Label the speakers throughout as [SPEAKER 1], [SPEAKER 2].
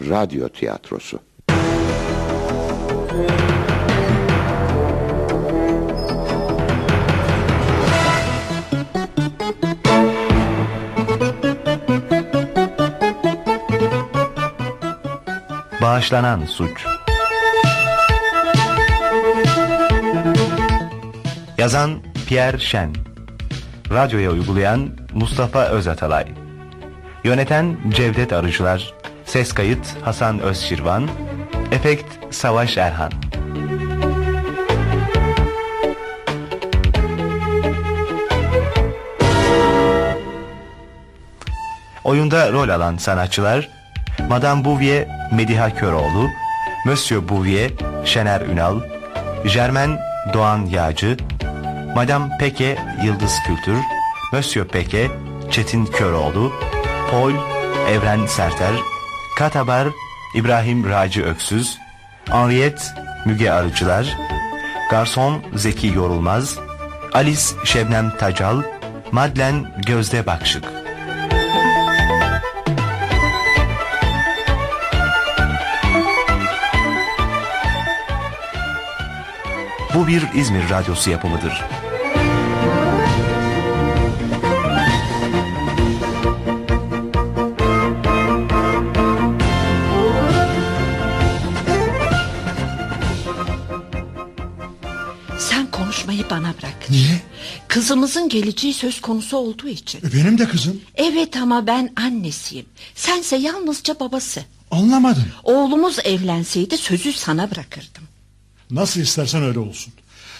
[SPEAKER 1] radyo tiyatrosu.
[SPEAKER 2] Bağışlanan suç. Yazan Pierre Şen. Radyoya uygulayan Mustafa Özatalay. Yöneten Cevdet Arıcılar. Ses kayıt Hasan Özşirvan. Efekt Savaş Erhan. Oyunda rol alan sanatçılar Madame Bouvier Mediha Köroğlu, Monsieur Bouvier Şener Ünal, Germain Doğan Yağcı, Madame Peke Yıldız Kültür, Monsieur Peke Çetin Köroğlu, Paul Evren Serter, Katabar İbrahim Raci Öksüz, Henriette Müge Arıcılar, Garson Zeki Yorulmaz, Alice Şebnem Tacal, Madlen Gözde Bakşık. Bu bir İzmir radyosu yapımıdır.
[SPEAKER 3] Sen konuşmayı bana bırak.
[SPEAKER 4] Niye?
[SPEAKER 3] Kızımızın geleceği söz konusu olduğu için.
[SPEAKER 4] E, Benim de kızım.
[SPEAKER 3] Evet ama ben annesiyim. Sense yalnızca babası.
[SPEAKER 4] Anlamadım.
[SPEAKER 3] Oğlumuz evlenseydi sözü sana bırakırdım.
[SPEAKER 4] Nasıl istersen öyle olsun.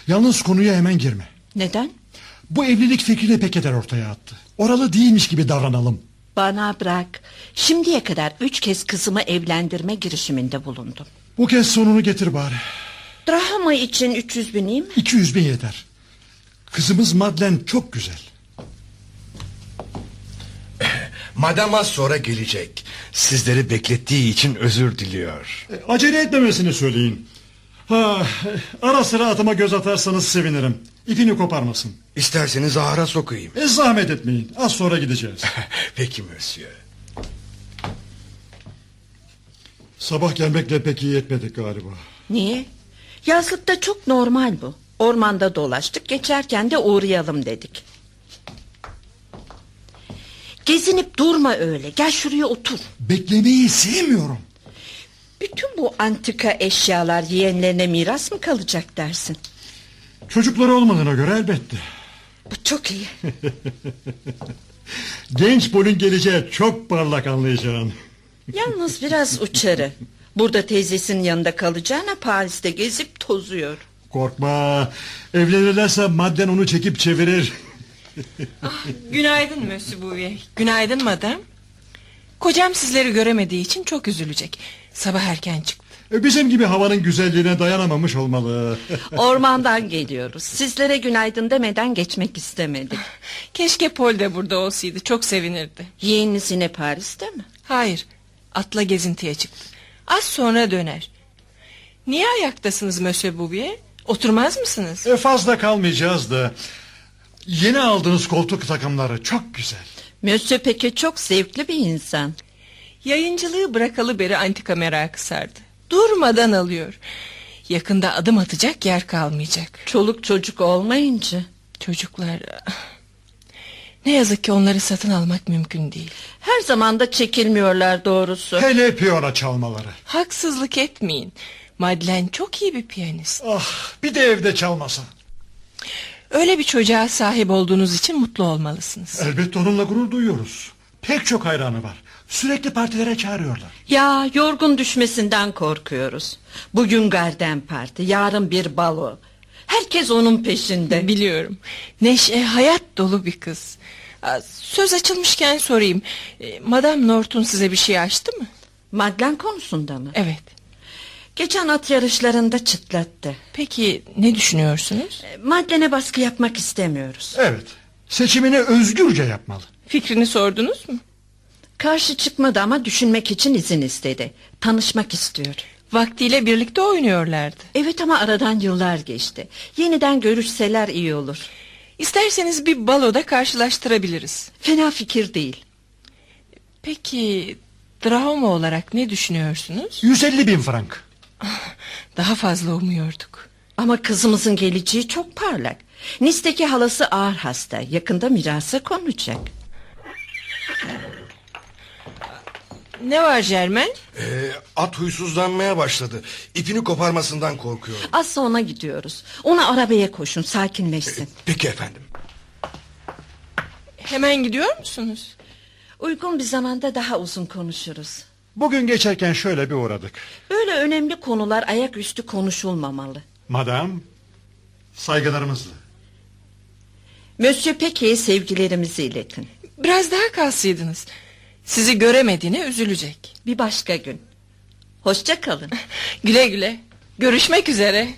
[SPEAKER 4] Yalnız konuya hemen girme.
[SPEAKER 3] Neden?
[SPEAKER 4] Bu evlilik fikrini Peketer ortaya attı. Oralı değilmiş gibi davranalım.
[SPEAKER 3] Bana bırak. Şimdiye kadar üç kez kızımı evlendirme girişiminde bulundum.
[SPEAKER 4] Bu kez sonunu getir bari.
[SPEAKER 3] Drahma için 300 bin iyi mi?
[SPEAKER 4] 200 bin yeter. Kızımız Madlen çok güzel.
[SPEAKER 5] Madam az sonra gelecek. Sizleri beklettiği için özür diliyor.
[SPEAKER 4] E, acele etmemesini söyleyin. Ha, ara sıra atıma göz atarsanız sevinirim. İpini koparmasın.
[SPEAKER 5] İsterseniz ahara sokayım.
[SPEAKER 4] E, zahmet etmeyin. Az sonra gideceğiz.
[SPEAKER 5] Peki monsieur.
[SPEAKER 4] Sabah gelmekle pek iyi etmedik galiba.
[SPEAKER 3] Niye? Yazlıkta çok normal bu. Ormanda dolaştık geçerken de uğrayalım dedik. Gezinip durma öyle gel şuraya otur.
[SPEAKER 4] Beklemeyi sevmiyorum.
[SPEAKER 3] Bütün bu antika eşyalar yeğenlerine miras mı kalacak dersin?
[SPEAKER 4] Çocukları olmadığına göre elbette.
[SPEAKER 3] Bu çok iyi.
[SPEAKER 4] Genç Pol'ün geleceği çok parlak anlayacağın.
[SPEAKER 3] Yalnız biraz uçarı. Burada teyzesinin yanında kalacağına Paris'te gezip tozuyor.
[SPEAKER 4] Korkma. Evlenirlerse madden onu çekip çevirir.
[SPEAKER 3] Ah.
[SPEAKER 6] Günaydın Mösyö Bouvier. Günaydın madam. Kocam sizleri göremediği için çok üzülecek. Sabah erken çıktı.
[SPEAKER 4] E, Bizim gibi havanın güzelliğine dayanamamış olmalı.
[SPEAKER 3] Ormandan geliyoruz. Sizlere günaydın demeden geçmek istemedik.
[SPEAKER 6] Keşke Paul de burada olsaydı. Çok sevinirdi.
[SPEAKER 3] Yeğeniniz yine Paris'te mi?
[SPEAKER 6] Hayır. Atla gezintiye çıktı. Az sonra döner. Niye ayaktasınız Mösyö Bouvier? Oturmaz mısınız?
[SPEAKER 4] E, fazla kalmayacağız da. Yeni aldığınız koltuk takımları çok güzel.
[SPEAKER 3] Monsieur Peke çok zevkli bir insan.
[SPEAKER 6] Yayıncılığı bırakalı beri antika merakı sardı. Durmadan alıyor. Yakında adım atacak yer kalmayacak.
[SPEAKER 3] Çoluk çocuk olmayınca.
[SPEAKER 6] Çocuklar... Ne yazık ki onları satın almak mümkün değil.
[SPEAKER 3] Her zaman da çekilmiyorlar doğrusu.
[SPEAKER 4] Hele piyano çalmaları.
[SPEAKER 6] Haksızlık etmeyin. Madlen çok iyi bir piyanist.
[SPEAKER 4] Ah bir de evde çalmasa.
[SPEAKER 6] Öyle bir çocuğa sahip olduğunuz için mutlu olmalısınız.
[SPEAKER 4] Elbette onunla gurur duyuyoruz. Pek çok hayranı var. Sürekli partilere çağırıyorlar.
[SPEAKER 3] Ya yorgun düşmesinden korkuyoruz. Bugün garden parti, yarın bir balo. Herkes onun peşinde.
[SPEAKER 6] Biliyorum. Neşe hayat dolu bir kız. Aa, Söz açılmışken sorayım. Ee, Madame Norton size bir şey açtı mı?
[SPEAKER 3] Madlen konusunda mı?
[SPEAKER 6] Evet.
[SPEAKER 3] Geçen at yarışlarında çıtlattı.
[SPEAKER 6] Peki ne düşünüyorsunuz?
[SPEAKER 3] E, Madlen'e baskı yapmak istemiyoruz.
[SPEAKER 4] Evet. Seçimini özgürce yapmalı.
[SPEAKER 6] Fikrini sordunuz mu?
[SPEAKER 3] Karşı çıkmadı ama düşünmek için izin istedi. Tanışmak istiyor.
[SPEAKER 6] Vaktiyle birlikte oynuyorlardı.
[SPEAKER 3] Evet ama aradan yıllar geçti. Yeniden görüşseler iyi olur.
[SPEAKER 6] İsterseniz bir baloda karşılaştırabiliriz.
[SPEAKER 3] Fena fikir değil.
[SPEAKER 6] Peki Drahoma olarak ne düşünüyorsunuz?
[SPEAKER 4] 150 bin frank.
[SPEAKER 6] Daha fazla umuyorduk.
[SPEAKER 3] Ama kızımızın geleceği çok parlak. Nis'teki halası ağır hasta. Yakında mirasa konacak.
[SPEAKER 6] Ne var Cermen?
[SPEAKER 5] Ee, at huysuzlanmaya başladı. İpini koparmasından korkuyorum.
[SPEAKER 3] Asla ona gidiyoruz. Onu arabaya koşun sakinleşsin.
[SPEAKER 5] Peki efendim.
[SPEAKER 6] Hemen gidiyor musunuz?
[SPEAKER 3] Uygun bir zamanda daha uzun konuşuruz.
[SPEAKER 4] Bugün geçerken şöyle bir uğradık.
[SPEAKER 3] Böyle önemli konular ayaküstü konuşulmamalı.
[SPEAKER 4] Madam, saygılarımızla.
[SPEAKER 3] Monsieur Peke'ye sevgilerimizi iletin.
[SPEAKER 6] Biraz daha kalsaydınız. Sizi göremediğine üzülecek.
[SPEAKER 3] Bir başka gün. Hoşça kalın.
[SPEAKER 6] Güle güle. Görüşmek üzere.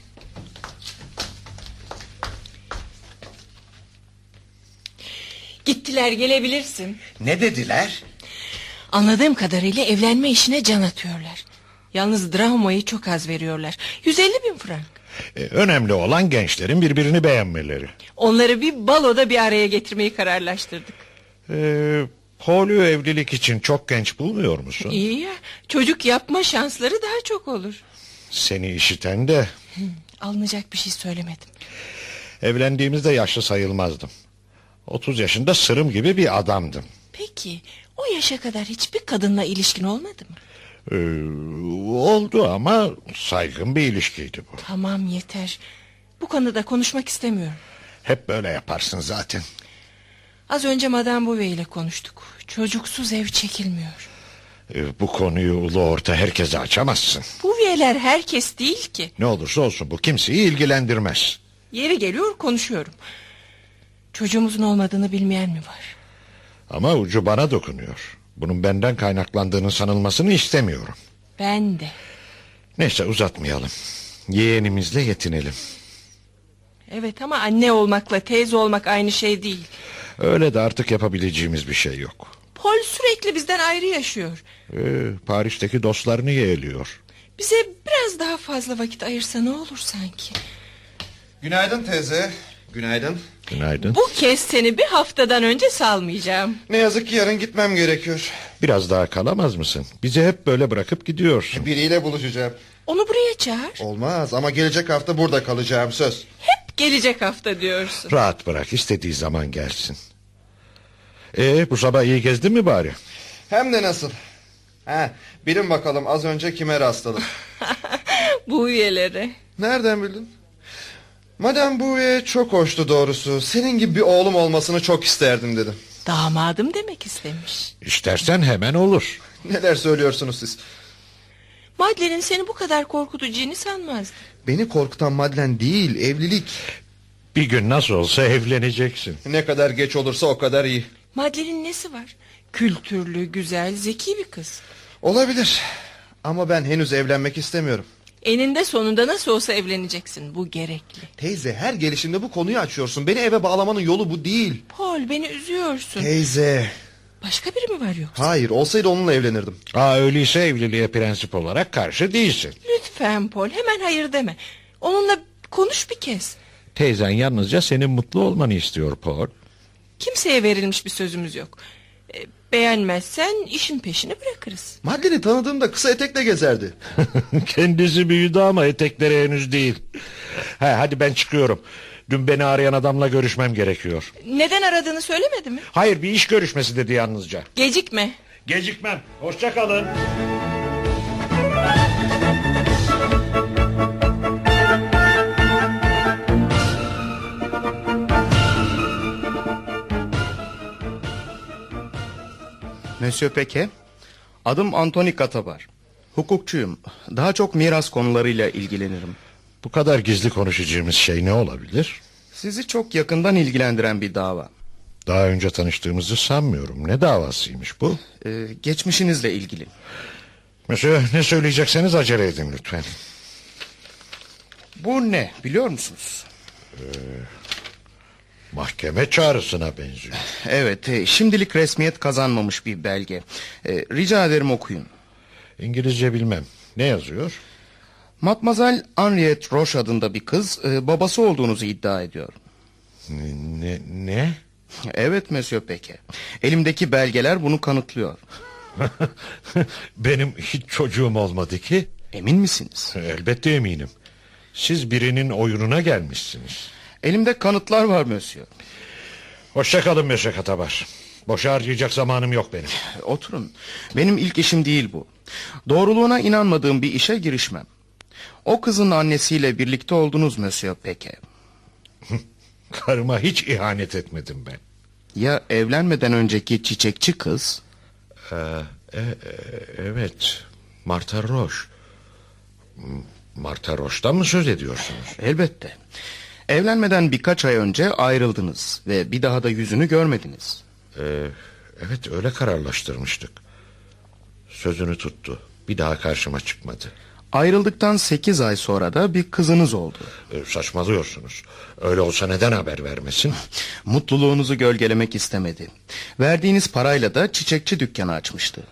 [SPEAKER 6] Gittiler gelebilirsin.
[SPEAKER 5] Ne dediler?
[SPEAKER 6] Anladığım kadarıyla evlenme işine can atıyorlar. Yalnız Drahomo'yu çok az veriyorlar. 150 bin frank.
[SPEAKER 1] E, Önemli olan gençlerin birbirini beğenmeleri.
[SPEAKER 6] Onları bir baloda bir araya getirmeyi kararlaştırdık.
[SPEAKER 1] E, Polio evlilik için çok genç bulmuyor musun?
[SPEAKER 6] İyi ya çocuk yapma şansları daha çok olur.
[SPEAKER 1] Seni işiten de
[SPEAKER 6] Alınacak bir şey söylemedim.
[SPEAKER 1] evlendiğimizde yaşlı sayılmazdım. 30 yaşında sırım gibi bir adamdım.
[SPEAKER 6] Peki o yaşa kadar hiçbir kadınla ilişkin olmadı mı?
[SPEAKER 1] E, oldu ama saygın bir ilişkiydi bu.
[SPEAKER 6] Tamam yeter. Bu konuda konuşmak istemiyorum.
[SPEAKER 1] Hep böyle yaparsın zaten.
[SPEAKER 6] Az önce Madame Bovary ile konuştuk. Çocuksuz ev çekilmiyor.
[SPEAKER 1] E, bu konuyu ulu orta herkese açamazsın.
[SPEAKER 6] Bouvier herkes değil ki.
[SPEAKER 1] Ne olursa olsun bu kimseyi ilgilendirmez.
[SPEAKER 6] Yeri geliyor konuşuyorum. Çocuğumuzun olmadığını bilmeyen mi var?
[SPEAKER 1] Ama ucu bana dokunuyor. Bunun benden kaynaklandığının sanılmasını istemiyorum.
[SPEAKER 6] Ben de.
[SPEAKER 1] Neyse uzatmayalım. Yeğenimizle yetinelim.
[SPEAKER 6] Evet ama anne olmakla teyze olmak aynı şey değil.
[SPEAKER 1] Öyle de artık yapabileceğimiz bir şey yok.
[SPEAKER 6] Paul sürekli bizden ayrı yaşıyor.
[SPEAKER 1] Ee, Paris'teki dostlarını yeğliyor.
[SPEAKER 6] Bize biraz daha fazla vakit ayırsa ne olur sanki.
[SPEAKER 5] Günaydın teyze. Günaydın.
[SPEAKER 1] Günaydın.
[SPEAKER 6] Bu kez seni bir haftadan önce salmayacağım.
[SPEAKER 5] Ne yazık ki yarın gitmem gerekiyor.
[SPEAKER 1] Biraz daha kalamaz mısın? Bizi hep böyle bırakıp gidiyorsun.
[SPEAKER 5] E, Biriyle buluşacağım.
[SPEAKER 6] Onu buraya çağır.
[SPEAKER 5] Olmaz ama gelecek hafta burada kalacağım söz.
[SPEAKER 6] Hep gelecek hafta diyorsun.
[SPEAKER 1] Rahat bırak istediği zaman gelsin. Ee, bu sabah iyi gezdin mi bari?
[SPEAKER 5] Hem de nasıl? Ha, bilin bakalım az önce kime rastladım.
[SPEAKER 6] Bu üyelere.
[SPEAKER 5] Nereden bildin? Madem bu üye çok hoştu doğrusu. Senin gibi bir oğlum olmasını çok isterdim dedim.
[SPEAKER 6] Damadım demek istemiş.
[SPEAKER 1] İstersen hemen olur.
[SPEAKER 5] Neler söylüyorsunuz siz?
[SPEAKER 6] Madlen'in seni bu kadar korkutacağını sanmazdım.
[SPEAKER 5] Beni korkutan Madlen değil evlilik.
[SPEAKER 1] Bir gün nasıl olsa evleneceksin.
[SPEAKER 5] Ne kadar geç olursa o kadar iyi.
[SPEAKER 6] Madlen'in nesi var? Kültürlü, güzel, zeki bir kız.
[SPEAKER 5] Olabilir. Ama ben henüz evlenmek istemiyorum.
[SPEAKER 6] Eninde sonunda nasıl olsa evleneceksin. Bu gerekli.
[SPEAKER 5] Teyze her gelişimde bu konuyu açıyorsun. Beni eve bağlamanın yolu bu değil.
[SPEAKER 6] Paul beni üzüyorsun.
[SPEAKER 5] Teyze.
[SPEAKER 6] Başka biri mi var yoksa?
[SPEAKER 5] Hayır olsaydı onunla evlenirdim.
[SPEAKER 1] Aa, öyleyse evliliğe prensip olarak karşı değilsin.
[SPEAKER 6] Lütfen Paul hemen hayır deme. Onunla konuş bir kez.
[SPEAKER 1] Teyzen yalnızca senin mutlu olmanı istiyor Paul.
[SPEAKER 6] Kimseye verilmiş bir sözümüz yok. E, Beğenmezsen işin peşini bırakırız.
[SPEAKER 5] Madlen'i tanıdığımda kısa etekle gezerdi.
[SPEAKER 1] Kendisi büyüdü ama etekleri henüz değil. He, hadi ben çıkıyorum. Dün beni arayan adamla görüşmem gerekiyor.
[SPEAKER 6] Neden aradığını söylemedi mi?
[SPEAKER 1] Hayır bir iş görüşmesi dedi yalnızca.
[SPEAKER 6] Gecikme.
[SPEAKER 1] Gecikmem. Hoşça kalın.
[SPEAKER 7] Monsieur Peke, adım Antoni Katabar. Hukukçuyum. Daha çok miras konularıyla ilgilenirim.
[SPEAKER 1] Bu kadar gizli konuşacağımız şey ne olabilir?
[SPEAKER 7] Sizi çok yakından ilgilendiren bir dava.
[SPEAKER 1] Daha önce tanıştığımızı sanmıyorum. Ne davasıymış bu?
[SPEAKER 7] Ee, geçmişinizle ilgili.
[SPEAKER 1] Monsieur ne söyleyecekseniz acele edin lütfen.
[SPEAKER 7] Bu ne biliyor musunuz?
[SPEAKER 1] Ee, Mahkeme çağrısına benziyor.
[SPEAKER 7] Evet, e, şimdilik resmiyet kazanmamış bir belge. Ee, rica ederim okuyun.
[SPEAKER 1] İngilizce bilmem. Ne yazıyor?
[SPEAKER 7] Matmazel Henriette Roche adında bir kız e, babası olduğunuzu iddia ediyor.
[SPEAKER 1] Ne- Ne? ne?
[SPEAKER 7] Evet Monsieur Peke. Elimdeki belgeler bunu kanıtlıyor.
[SPEAKER 1] Benim hiç çocuğum olmadı ki. Ee,
[SPEAKER 7] Emin misiniz?
[SPEAKER 1] Elbette eminim. Siz birinin oyununa gelmişsiniz.
[SPEAKER 7] Elimde kanıtlar var Mösyö.
[SPEAKER 1] Hoşçakalın Meşe Katabar. Boşa harcayacak zamanım yok benim.
[SPEAKER 7] Oturun. Benim ilk işim değil bu. Doğruluğuna inanmadığım bir işe girişmem. O kızın annesiyle birlikte oldunuz Mösyö Peke.
[SPEAKER 1] Karıma hiç ihanet etmedim ben.
[SPEAKER 7] Ya evlenmeden önceki çiçekçi kız?
[SPEAKER 1] Ee, e, Evet. Marta Roş. Marta Roş'tan mı söz ediyorsunuz?
[SPEAKER 7] Elbette. Evlenmeden birkaç ay önce ayrıldınız ve bir daha da yüzünü görmediniz.
[SPEAKER 1] Ee, evet öyle kararlaştırmıştık. Sözünü tuttu. Bir daha karşıma çıkmadı.
[SPEAKER 7] Ayrıldıktan 8 ay sonra da bir kızınız oldu.
[SPEAKER 1] Ee, saçmalıyorsunuz. Öyle olsa neden haber vermesin?
[SPEAKER 7] Mutluluğunuzu gölgelemek istemedi. Verdiğiniz parayla da çiçekçi dükkanı açmıştı.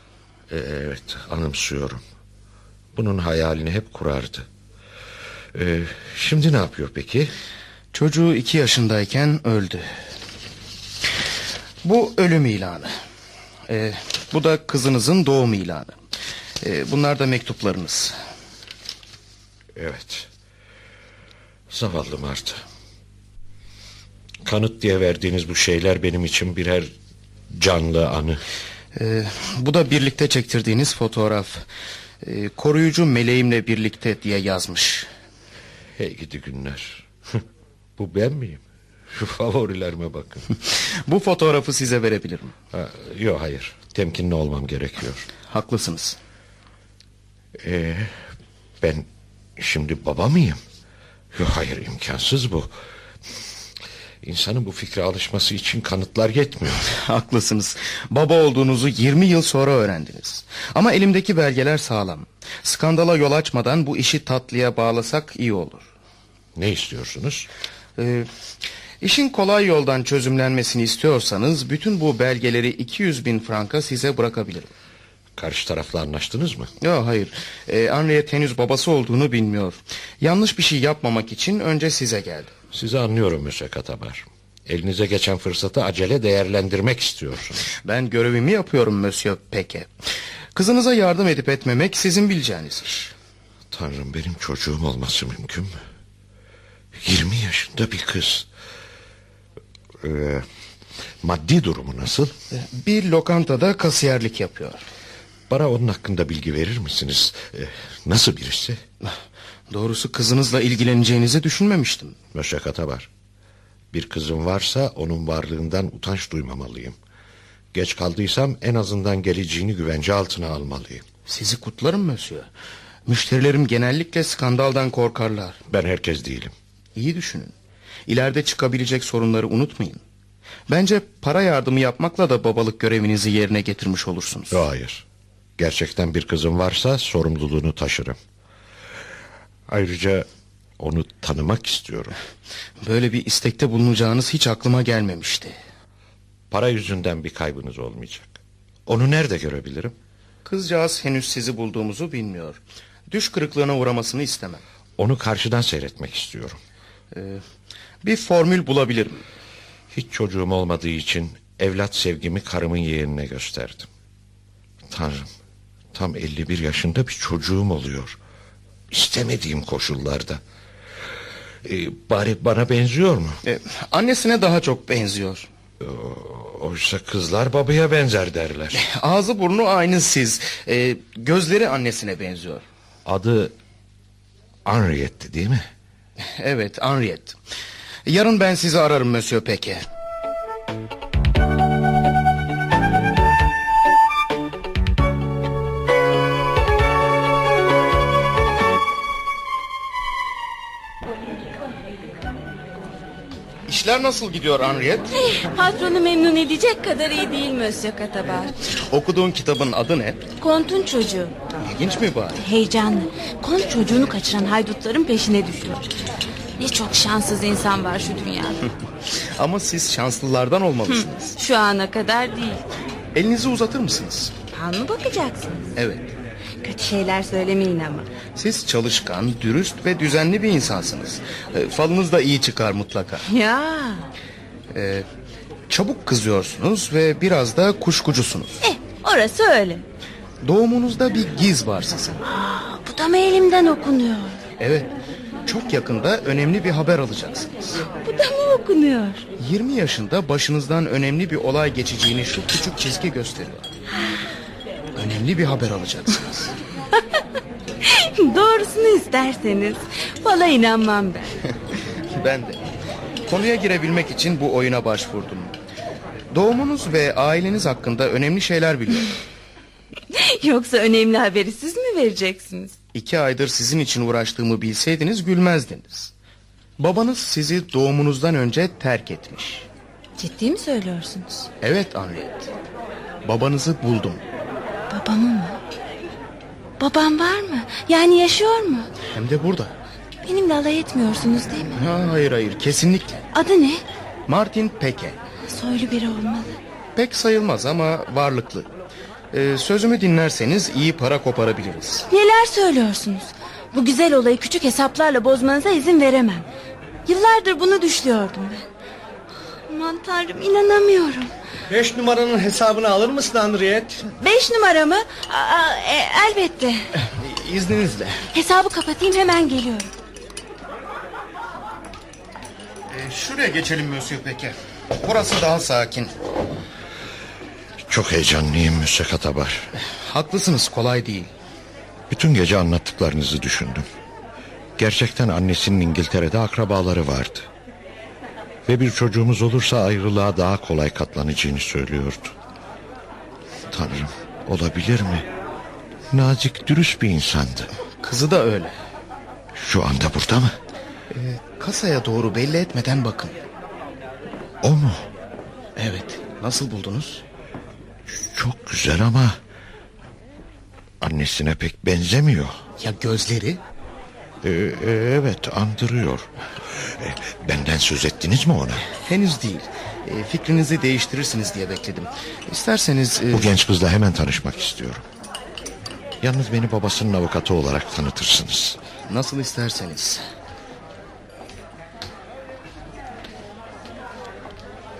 [SPEAKER 1] Ee, evet anımsıyorum. Bunun hayalini hep kurardı. Ee, şimdi ne yapıyor peki?
[SPEAKER 7] Çocuğu iki yaşındayken öldü. Bu ölüm ilanı. Ee, bu da kızınızın doğum ilanı. Ee, bunlar da mektuplarınız.
[SPEAKER 1] Evet. Zavallı Marta. Kanıt diye verdiğiniz bu şeyler benim için birer canlı anı.
[SPEAKER 7] Ee, bu da birlikte çektirdiğiniz fotoğraf. Ee, koruyucu meleğimle birlikte diye yazmış.
[SPEAKER 1] Hey gidi günler. bu ben miyim? Şu favorilerime bakın.
[SPEAKER 7] Bu fotoğrafı size verebilirim.
[SPEAKER 1] ha, yok hayır. Temkinli olmam gerekiyor.
[SPEAKER 7] Haklısınız.
[SPEAKER 1] Ee, ben şimdi baba mıyım? Yok hayır imkansız bu. İnsanın bu fikre alışması için kanıtlar yetmiyor.
[SPEAKER 7] Haklısınız. Baba olduğunuzu 20 yıl sonra öğrendiniz. Ama elimdeki belgeler sağlam. Skandala yol açmadan bu işi tatlıya bağlasak iyi olur.
[SPEAKER 1] Ne istiyorsunuz?
[SPEAKER 7] Ee, işin kolay yoldan çözümlenmesini istiyorsanız bütün bu belgeleri 200 bin franka size bırakabilirim.
[SPEAKER 1] Karşı tarafla anlaştınız mı?
[SPEAKER 7] Yok hayır. Ee, Henry'et henüz babası olduğunu bilmiyor. Yanlış bir şey yapmamak için önce size geldi.
[SPEAKER 1] Sizi anlıyorum Müse Katabar. Elinize geçen fırsatı acele değerlendirmek istiyorsunuz.
[SPEAKER 7] Ben görevimi yapıyorum Monsieur Peke. Kızınıza yardım edip etmemek sizin bileceğiniz iş.
[SPEAKER 1] Tanrım benim çocuğum olması mümkün mü? 20 yaşında bir kız. Ee, maddi durumu nasıl?
[SPEAKER 7] Bir lokantada kasiyerlik yapıyor.
[SPEAKER 1] Bana onun hakkında bilgi verir misiniz? Ee, nasıl birisi?
[SPEAKER 7] Doğrusu kızınızla ilgileneceğinizi düşünmemiştim.
[SPEAKER 1] Möşakata var. Bir kızım varsa onun varlığından utanç duymamalıyım. Geç kaldıysam en azından geleceğini güvence altına almalıyım.
[SPEAKER 7] Sizi kutlarım Monsieur. Müşterilerim genellikle skandaldan korkarlar.
[SPEAKER 1] Ben herkes değilim.
[SPEAKER 7] İyi düşünün. İleride çıkabilecek sorunları unutmayın. Bence para yardımı yapmakla da babalık görevinizi yerine getirmiş olursunuz.
[SPEAKER 1] Yo, hayır. Gerçekten bir kızım varsa sorumluluğunu taşırım. Ayrıca onu tanımak istiyorum.
[SPEAKER 7] Böyle bir istekte bulunacağınız hiç aklıma gelmemişti.
[SPEAKER 1] Para yüzünden bir kaybınız olmayacak. Onu nerede görebilirim?
[SPEAKER 7] Kızcağız henüz sizi bulduğumuzu bilmiyor. Düş kırıklığına uğramasını istemem.
[SPEAKER 1] Onu karşıdan seyretmek istiyorum.
[SPEAKER 7] Ee, bir formül bulabilirim.
[SPEAKER 1] Hiç çocuğum olmadığı için evlat sevgimi karımın yeğenine gösterdim. Tanrım, tam 51 yaşında bir çocuğum oluyor. İstemediğim koşullarda. Ee, bari bana benziyor mu?
[SPEAKER 7] Ee, annesine daha çok benziyor.
[SPEAKER 1] Oysa kızlar babaya benzer derler.
[SPEAKER 7] Ağzı burnu aynı siz. Ee, gözleri annesine benziyor.
[SPEAKER 1] Adı Henriette'ti değil mi?
[SPEAKER 7] Evet Henriette. Yarın ben sizi ararım Monsieur Peke. İşler nasıl gidiyor Henriette?
[SPEAKER 8] Patronu memnun edecek kadar iyi değil Monsieur Katabar.
[SPEAKER 7] Okuduğun kitabın adı ne?
[SPEAKER 8] Kont'un çocuğu.
[SPEAKER 7] İlginç mi bari?
[SPEAKER 8] Heyecanlı. Kont çocuğunu kaçıran haydutların peşine düşüyor. Ne çok şanssız insan var şu dünyada.
[SPEAKER 7] Ama siz şanslılardan olmalısınız.
[SPEAKER 8] Şu ana kadar değil.
[SPEAKER 7] Elinizi uzatır mısınız?
[SPEAKER 8] Han mı bakacaksınız?
[SPEAKER 7] Evet.
[SPEAKER 8] Kötü şeyler söylemeyin ama.
[SPEAKER 7] Siz çalışkan, dürüst ve düzenli bir insansınız. Ee, falınız da iyi çıkar mutlaka.
[SPEAKER 8] Ya.
[SPEAKER 7] Ee, Çabuk kızıyorsunuz ve biraz da kuşkucusunuz.
[SPEAKER 8] Eh, Orası öyle.
[SPEAKER 7] Doğumunuzda bir giz var sizin.
[SPEAKER 8] Bu da mı elimden okunuyor?
[SPEAKER 7] Evet. Çok yakında önemli bir haber alacaksınız.
[SPEAKER 8] Bu da mı okunuyor?
[SPEAKER 7] 20 yaşında başınızdan önemli bir olay geçeceğini şu küçük çizgi gösteriyor. Önemli bir haber alacaksınız.
[SPEAKER 8] Doğrusunu isterseniz. Valla inanmam ben.
[SPEAKER 7] Ben de. Konuya girebilmek için bu oyuna başvurdum. Doğumunuz ve aileniz hakkında önemli şeyler biliyorum.
[SPEAKER 8] Yoksa önemli haberi siz mi vereceksiniz?
[SPEAKER 7] İki aydır sizin için uğraştığımı bilseydiniz gülmezdiniz. Babanız sizi doğumunuzdan önce terk etmiş.
[SPEAKER 8] Ciddi mi söylüyorsunuz?
[SPEAKER 7] Evet Henriette. Babanızı buldum.
[SPEAKER 8] Babamı mı? Babam var mı? Yani yaşıyor mu?
[SPEAKER 7] Hem de burada.
[SPEAKER 8] Benimle alay etmiyorsunuz değil mi?
[SPEAKER 7] Ha, hayır hayır kesinlikle.
[SPEAKER 8] Adı ne?
[SPEAKER 7] Martin Peke.
[SPEAKER 8] Soylu biri olmalı.
[SPEAKER 7] Pek sayılmaz ama varlıklı. Ee, sözümü dinlerseniz iyi para koparabiliriz.
[SPEAKER 8] Neler söylüyorsunuz? Bu güzel olayı küçük hesaplarla bozmanıza izin veremem. Yıllardır bunu düşlüyordum ben. Aman tanrım inanamıyorum.
[SPEAKER 9] Beş numaranın hesabını alır mısın Henriette?
[SPEAKER 8] Beş numara mı? Aa, e, elbette.
[SPEAKER 9] İzninizle.
[SPEAKER 8] Hesabı kapatayım hemen geliyorum.
[SPEAKER 7] Ee, şuraya geçelim Monsieur Peke. Burası daha sakin.
[SPEAKER 1] Çok heyecanlıyım Müsse Katabar.
[SPEAKER 7] Haklısınız kolay değil.
[SPEAKER 1] Bütün gece anlattıklarınızı düşündüm. Gerçekten annesinin İngiltere'de akrabaları vardı. Ve bir çocuğumuz olursa ayrılığa daha kolay katlanacağını söylüyordu. Tanrım olabilir mi? Nazik dürüst bir insandı.
[SPEAKER 7] Kızı da öyle.
[SPEAKER 1] Şu anda burada mı?
[SPEAKER 7] Ee, Kasaya doğru belli etmeden bakın.
[SPEAKER 1] O mu?
[SPEAKER 7] Evet. Nasıl buldunuz?
[SPEAKER 1] Çok güzel ama... Annesine pek benzemiyor.
[SPEAKER 7] Ya gözleri?
[SPEAKER 1] Ee, e, evet andırıyor. Ee, benden söz ettiniz mi ona?
[SPEAKER 7] Henüz değil. E, fikrinizi değiştirirsiniz diye bekledim. İsterseniz... e,
[SPEAKER 1] Bu genç kızla hemen tanışmak istiyorum. Yalnız beni babasının avukatı olarak tanıtırsınız.
[SPEAKER 7] Nasıl isterseniz.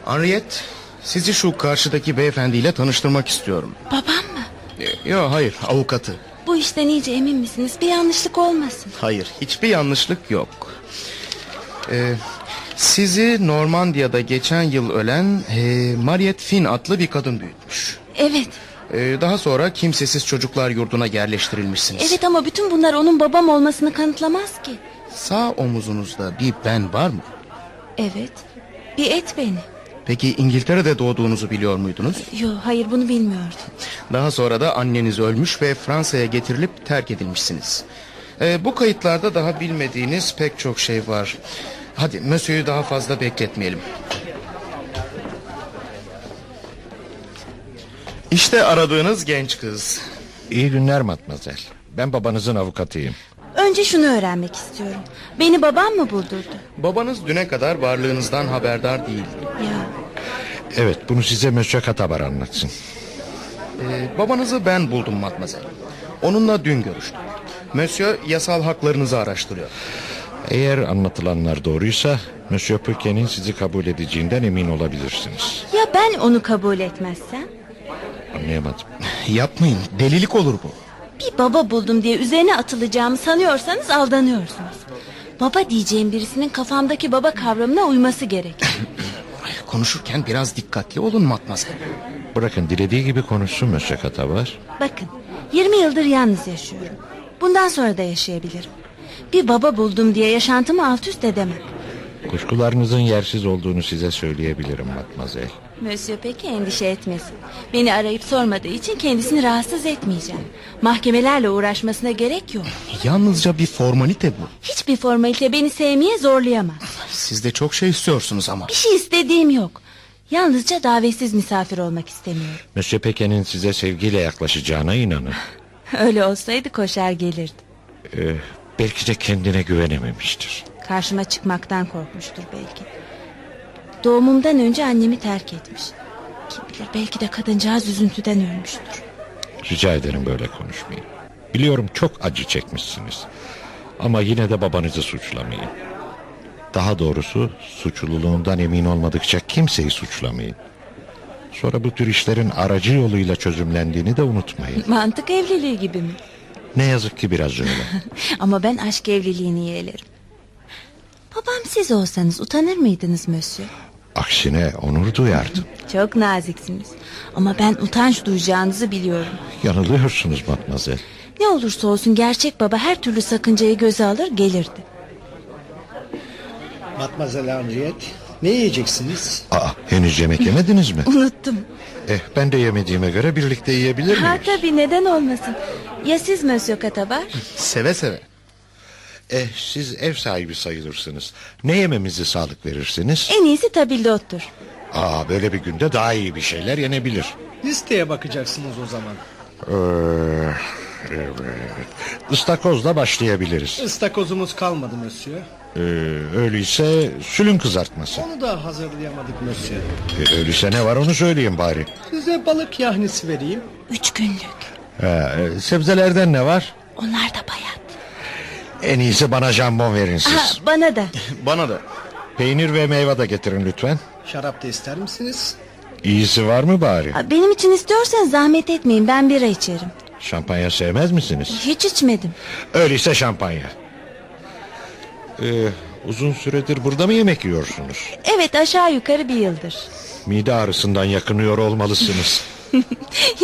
[SPEAKER 7] Henriette, sizi şu karşıdaki beyefendiyle tanıştırmak istiyorum.
[SPEAKER 8] Babam mı?
[SPEAKER 7] Yok hayır, avukatı.
[SPEAKER 8] Bu işten iyice emin misiniz? Bir yanlışlık olmasın.
[SPEAKER 7] Hayır, hiçbir yanlışlık yok. Ee, sizi Normandiya'da geçen yıl ölen e, Mariette Finn adlı bir kadın büyütmüş.
[SPEAKER 8] Evet.
[SPEAKER 7] Ee, daha sonra kimsesiz çocuklar yurduna yerleştirilmişsiniz.
[SPEAKER 8] Evet ama bütün bunlar onun babam olmasını kanıtlamaz ki.
[SPEAKER 7] Sağ omuzunuzda bir ben var mı?
[SPEAKER 8] Evet. Bir et beni.
[SPEAKER 7] Peki İngiltere'de doğduğunuzu biliyor muydunuz?
[SPEAKER 8] Yo hayır bunu bilmiyordum.
[SPEAKER 7] Daha sonra da anneniz ölmüş ve Fransa'ya getirilip terk edilmişsiniz. Ee, bu kayıtlarda daha bilmediğiniz pek çok şey var. Hadi Mösyö'yü daha fazla bekletmeyelim. İşte aradığınız genç kız.
[SPEAKER 1] İyi günler matmazel. Ben babanızın avukatıyım.
[SPEAKER 8] Önce şunu öğrenmek istiyorum. Beni babam mı buldurdu?
[SPEAKER 7] Babanız düne kadar varlığınızdan haberdar değildi.
[SPEAKER 8] Ya
[SPEAKER 1] Evet bunu size Mösyö Katabar anlatsın.
[SPEAKER 7] Ee, babanızı ben buldum matmazel. Onunla dün görüştüm. Mösyö yasal haklarınızı araştırıyor.
[SPEAKER 1] Eğer anlatılanlar doğruysa Mösyö Pöke'nin sizi kabul edeceğinden emin olabilirsiniz.
[SPEAKER 8] ya ben onu kabul etmezsem?
[SPEAKER 1] Anlayamadım.
[SPEAKER 7] Yapmayın delilik olur bu.
[SPEAKER 8] Bir baba buldum diye üzerine atılacağımı sanıyorsanız aldanıyorsunuz. Baba diyeceğim birisinin kafamdaki baba kavramına uyması gerek.
[SPEAKER 7] Konuşurken biraz dikkatli olun matmazel.
[SPEAKER 1] Bırakın dilediği gibi konuşsun Mösyö Katabar.
[SPEAKER 8] Bakın 20 yıldır yalnız yaşıyorum. Bundan sonra da yaşayabilirim. Bir baba buldum diye yaşantımı alt üst edemem.
[SPEAKER 1] Kuşkularınızın yersiz olduğunu size söyleyebilirim matmazel.
[SPEAKER 8] Monsieur peki endişe etmesin. Beni arayıp sormadığı için kendisini rahatsız etmeyeceğim. Mahkemelerle uğraşmasına gerek yok.
[SPEAKER 7] Yalnızca bir formalite bu.
[SPEAKER 8] Hiçbir formalite beni sevmeye zorlayamaz.
[SPEAKER 7] Siz de çok şey istiyorsunuz ama.
[SPEAKER 8] Bir şey istediğim yok. Yalnızca davetsiz misafir olmak istemiyorum.
[SPEAKER 1] Mösyö Peke'nin size sevgiyle yaklaşacağına inanın.
[SPEAKER 8] Öyle olsaydı koşar gelirdi.
[SPEAKER 1] Ee, belki de kendine güvenememiştir.
[SPEAKER 8] Karşıma çıkmaktan korkmuştur belki. Doğumumdan önce annemi terk etmiş. Kim bilir belki de kadıncağız üzüntüden ölmüştür.
[SPEAKER 1] Rica ederim böyle konuşmayın. Biliyorum çok acı çekmişsiniz. Ama yine de babanızı suçlamayın. Daha doğrusu suçluluğundan emin olmadıkça kimseyi suçlamayın. Sonra bu tür işlerin aracı yoluyla çözümlendiğini de unutmayın.
[SPEAKER 8] Mantık evliliği gibi mi?
[SPEAKER 1] Ne yazık ki biraz öyle.
[SPEAKER 8] Ama ben aşk evliliğini yeğlerim. Babam siz olsanız utanır mıydınız Mösyö?
[SPEAKER 1] Aksine onur duyardım.
[SPEAKER 8] Çok naziksiniz. Ama ben utanç duyacağınızı biliyorum.
[SPEAKER 1] Yanılıyorsunuz matmazel.
[SPEAKER 8] Ne olursa olsun gerçek baba her türlü sakıncayı göze alır gelirdi.
[SPEAKER 9] Matmazel Henriette, ne yiyeceksiniz?
[SPEAKER 1] Aa, henüz yemek yemediniz mi?
[SPEAKER 8] Unuttum.
[SPEAKER 1] Eh ben de yemediğime göre birlikte yiyebilir
[SPEAKER 8] Ha
[SPEAKER 1] miyiz?
[SPEAKER 8] tabii neden olmasın. Ya siz Mösyö Katabar?
[SPEAKER 7] Seve seve.
[SPEAKER 1] Eh siz ev sahibi sayılırsınız. Ne yememizi sağlık verirsiniz?
[SPEAKER 8] en iyisi tabildottur.
[SPEAKER 1] Aa böyle bir günde daha iyi bir şeyler yenebilir.
[SPEAKER 9] Listeye bakacaksınız o zaman.
[SPEAKER 1] Ee, evet. Istakozla başlayabiliriz.
[SPEAKER 9] Istakozumuz kalmadı Monsieur.
[SPEAKER 1] Ee, öyleyse sülün kızartması.
[SPEAKER 9] Onu da hazırlayamadık Monsieur.
[SPEAKER 1] Ee, öyleyse ne var onu söyleyeyim bari.
[SPEAKER 9] Size balık yahnisi vereyim.
[SPEAKER 8] Üç günlük.
[SPEAKER 1] Ha, e, sebzelerden ne var?
[SPEAKER 8] Onlar da bayat.
[SPEAKER 1] En iyisi bana jambon verin
[SPEAKER 8] Ha,
[SPEAKER 1] siz.
[SPEAKER 8] bana da.
[SPEAKER 7] Ah. Bana da.
[SPEAKER 1] Peynir ve meyve de getirin lütfen.
[SPEAKER 9] Şarap da ister misiniz?
[SPEAKER 1] İyisi var mı bari?
[SPEAKER 8] Ha, Benim için istiyorsanız zahmet etmeyin ben bira içerim.
[SPEAKER 1] Şampanya sevmez misiniz?
[SPEAKER 8] Hiç içmedim.
[SPEAKER 1] Öyleyse şampanya. Ee, uzun süredir burada mı yemek yiyorsunuz?
[SPEAKER 8] Evet aşağı yukarı bir yıldır.
[SPEAKER 1] Mide ağrısından yakınıyor olmalısınız.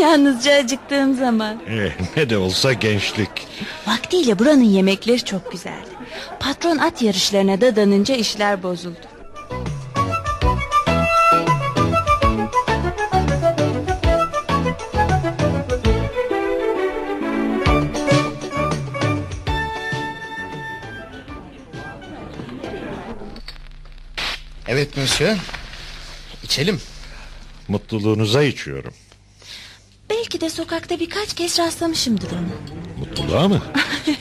[SPEAKER 8] Yalnızca acıktığım zaman.
[SPEAKER 1] Eh, ne de olsa gençlik.
[SPEAKER 8] Vaktiyle buranın yemekleri çok güzeldi. Patron at yarışlarına dadanınca işler bozuldu.
[SPEAKER 7] Evet monsieur. İçelim.
[SPEAKER 1] Mutluluğunuza içiyorum.
[SPEAKER 8] Belki de sokakta birkaç kez rastlamışımdır ona.
[SPEAKER 1] Mutluluğa mı?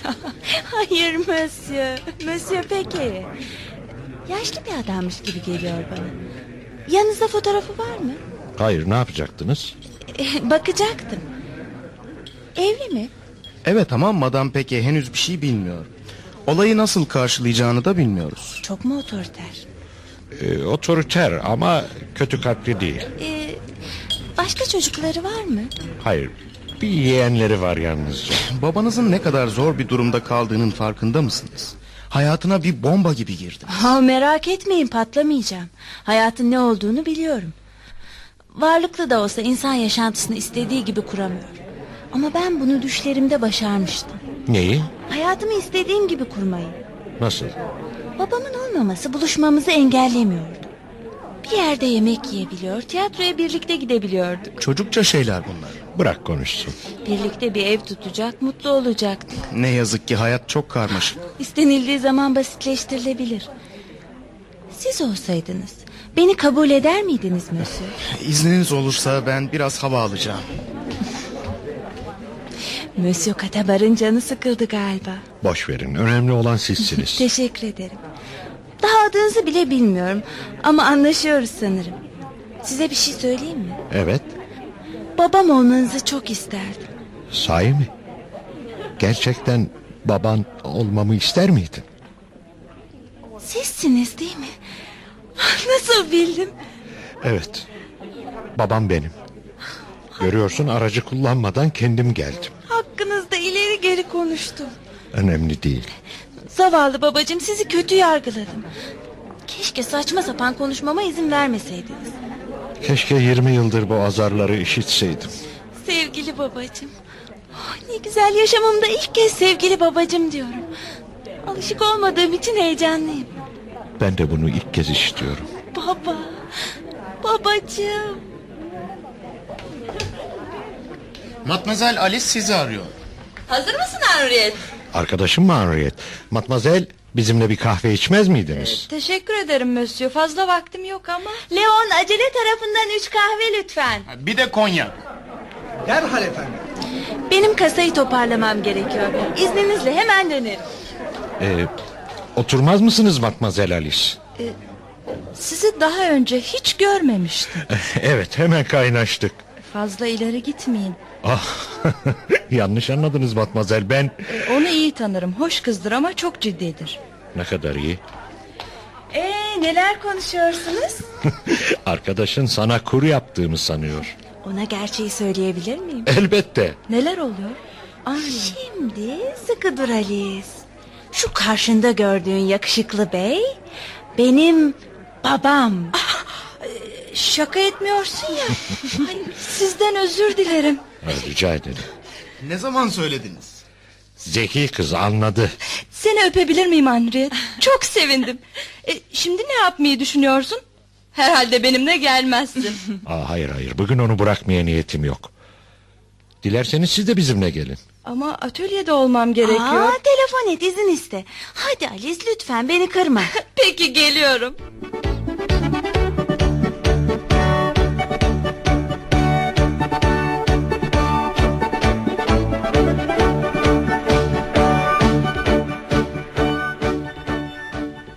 [SPEAKER 8] Hayır Monsieur. Monsieur Pekeri. Yaşlı bir adammış gibi geliyor bana. Yanınızda fotoğrafı var mı?
[SPEAKER 1] Hayır ne yapacaktınız?
[SPEAKER 8] Eh, Bakacaktım. Evli mi?
[SPEAKER 7] Evet ama madam peki henüz bir şey bilmiyor. Olayı nasıl karşılayacağını da bilmiyoruz.
[SPEAKER 8] Çok mu otoriter?
[SPEAKER 1] Ee, otoriter ama kötü kalpli değil.
[SPEAKER 8] Eh, başka çocukları var mı?
[SPEAKER 1] Hayır bir yeğenleri var yalnızca.
[SPEAKER 7] Babanızın ne kadar zor bir durumda kaldığının farkında mısınız? Hayatına bir bomba gibi girdi.
[SPEAKER 8] Ha, merak etmeyin patlamayacağım. Hayatın ne olduğunu biliyorum. Varlıklı da olsa insan yaşantısını istediği gibi kuramıyor. Ama ben bunu düşlerimde başarmıştım.
[SPEAKER 1] Neyi?
[SPEAKER 8] Hayatımı istediğim gibi kurmayı.
[SPEAKER 1] Nasıl?
[SPEAKER 8] Babamın olmaması buluşmamızı engellemiyordu. Bir yerde yemek yiyebiliyor, tiyatroya birlikte gidebiliyorduk.
[SPEAKER 7] Çocukça şeyler bunlar.
[SPEAKER 1] Bırak konuşsun.
[SPEAKER 8] Birlikte bir ev tutacak, mutlu olacaktık.
[SPEAKER 7] Ne yazık ki hayat çok karmaşık.
[SPEAKER 8] İstenildiği zaman basitleştirilebilir. Siz olsaydınız, beni kabul eder miydiniz Mösyö?
[SPEAKER 7] İzniniz olursa ben biraz hava alacağım.
[SPEAKER 8] Monsieur Katabar'ın canı sıkıldı galiba.
[SPEAKER 1] Boş verin önemli olan sizsiniz.
[SPEAKER 8] Teşekkür ederim. Daha adınızı bile bilmiyorum ama anlaşıyoruz sanırım. Size bir şey söyleyeyim mi?
[SPEAKER 1] evet
[SPEAKER 8] Babam olmanızı çok isterdim.
[SPEAKER 1] sahi mi? Gerçekten baban olmamı ister miydin?
[SPEAKER 8] Sizsiniz değil mi? Nasıl bildim?
[SPEAKER 1] Evet babam benim. Görüyorsun aracı kullanmadan kendim geldim.
[SPEAKER 8] Hakkınızda ileri geri konuştum.
[SPEAKER 1] Önemli değil.
[SPEAKER 8] Zavallı babacığım sizi kötü yargıladım. Keşke saçma sapan konuşmama izin vermeseydiniz.
[SPEAKER 1] Keşke 20 yıldır bu azarları işitseydim.
[SPEAKER 8] Sevgili babacığım. Ah, Ne güzel yaşamımda ilk kez sevgili babacığım diyorum. Alışık olmadığım için heyecanlıyım.
[SPEAKER 1] Ben de bunu ilk kez işitiyorum.
[SPEAKER 8] Baba. Babacığım.
[SPEAKER 7] Matmazel Alice sizi arıyor.
[SPEAKER 10] Hazır mısın Henriette?
[SPEAKER 1] Arkadaşım mı Henriette? Matmazel bizimle bir kahve içmez miydiniz?
[SPEAKER 10] Teşekkür ederim Monsieur. Fazla vaktim yok ama. Leon acele tarafından üç kahve lütfen.
[SPEAKER 7] Bir de Konya.
[SPEAKER 9] Derhal efendim.
[SPEAKER 8] Benim kasayı toparlamam gerekiyor. İzninizle hemen dönerim.
[SPEAKER 1] Ee, oturmaz mısınız Matmazel Alice?
[SPEAKER 10] Sizi daha önce hiç görmemiştim.
[SPEAKER 1] Evet hemen kaynaştık.
[SPEAKER 10] Fazla ileri gitmeyin.
[SPEAKER 1] Ah yanlış anladınız Matmazel ben.
[SPEAKER 10] E, Onu iyi tanırım. Hoş kızdır ama çok ciddidir.
[SPEAKER 1] Ne kadar iyi.
[SPEAKER 10] Ee Ee, neler konuşuyorsunuz?
[SPEAKER 1] Arkadaşın sana kur yaptığımı sanıyor.
[SPEAKER 8] Ona gerçeği söyleyebilir miyim?
[SPEAKER 1] Elbette.
[SPEAKER 8] Neler oluyor? Şimdi sıkı dur Alice. Şu karşında gördüğün yakışıklı bey benim babam.
[SPEAKER 10] Ah, Şaka etmiyorsun ya. Ay, sizden özür dilerim.
[SPEAKER 1] Ha, Rica ederim.
[SPEAKER 7] Ne zaman söylediniz?
[SPEAKER 1] Zeki kız anladı.
[SPEAKER 10] Seni öpebilir miyim Henriette? Çok sevindim. E, şimdi ne yapmayı düşünüyorsun? Herhalde benimle gelmezsin.
[SPEAKER 1] Aa, hayır hayır bugün onu bırakmaya niyetim yok. Dilerseniz siz de bizimle gelin.
[SPEAKER 10] Ama atölyede olmam gerekiyor.
[SPEAKER 8] Aa, telefon et izin iste. Hadi Alice lütfen beni kırma.
[SPEAKER 10] Peki geliyorum.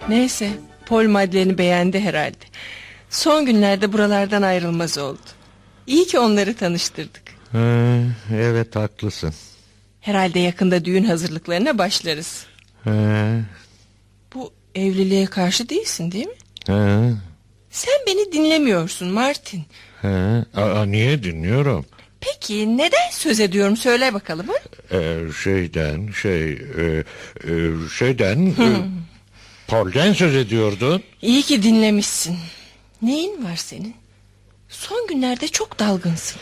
[SPEAKER 6] Neyse Paul Madeleine'i beğendi herhalde. Son günlerde buralardan ayrılmaz oldu. İyi ki onları tanıştırdık.
[SPEAKER 1] Ha, evet haklısın.
[SPEAKER 6] Herhalde yakında düğün hazırlıklarına başlarız.
[SPEAKER 1] Ha,
[SPEAKER 6] Bu evliliğe karşı değilsin değil mi?
[SPEAKER 1] ha,
[SPEAKER 6] Sen beni dinlemiyorsun Martin.
[SPEAKER 1] ha. Aa, niye dinliyorum?
[SPEAKER 6] Peki neden söz ediyorum söyle bakalım. ha?
[SPEAKER 1] Ee, şeyden şey e, e, şeyden e, Paul'den söz ediyordun.
[SPEAKER 6] İyi ki dinlemişsin. Neyin var senin? Son günlerde çok dalgınsın.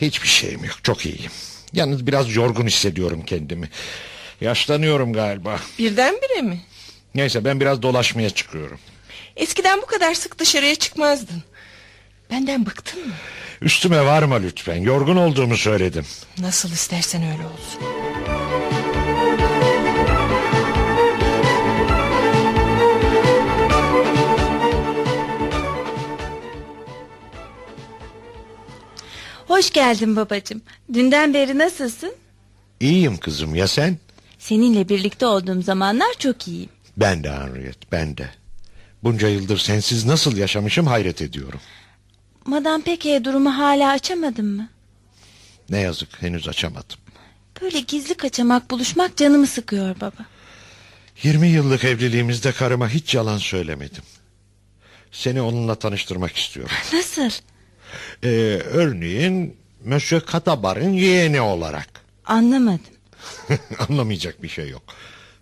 [SPEAKER 1] Hiçbir şeyim yok çok iyiyim. Yalnız biraz yorgun hissediyorum kendimi. Yaşlanıyorum galiba.
[SPEAKER 6] Birdenbire mi?
[SPEAKER 1] Neyse ben biraz dolaşmaya çıkıyorum.
[SPEAKER 6] Eskiden bu kadar sık dışarıya çıkmazdın. Benden bıktın mı?
[SPEAKER 1] Üstüme varma lütfen. Yorgun olduğumu söyledim.
[SPEAKER 6] Nasıl istersen öyle olsun.
[SPEAKER 8] Hoş geldin babacığım. Dünden beri nasılsın?
[SPEAKER 1] İyiyim kızım ya sen?
[SPEAKER 8] Seninle birlikte olduğum zamanlar çok iyiyim.
[SPEAKER 1] Ben de Henriette ben de. Bunca yıldır sensiz nasıl yaşamışım hayret ediyorum.
[SPEAKER 8] Madam Peke'ye durumu hala açamadın mı?
[SPEAKER 1] Ne yazık henüz açamadım.
[SPEAKER 8] Böyle gizli kaçamak buluşmak canımı sıkıyor baba.
[SPEAKER 1] 20 yıllık evliliğimizde karıma hiç yalan söylemedim. Seni onunla tanıştırmak istiyorum.
[SPEAKER 8] Nasıl?
[SPEAKER 1] Ee, örneğin Monsieur Katabar'ın yeğeni olarak.
[SPEAKER 8] Anlamadım.
[SPEAKER 1] Anlamayacak bir şey yok.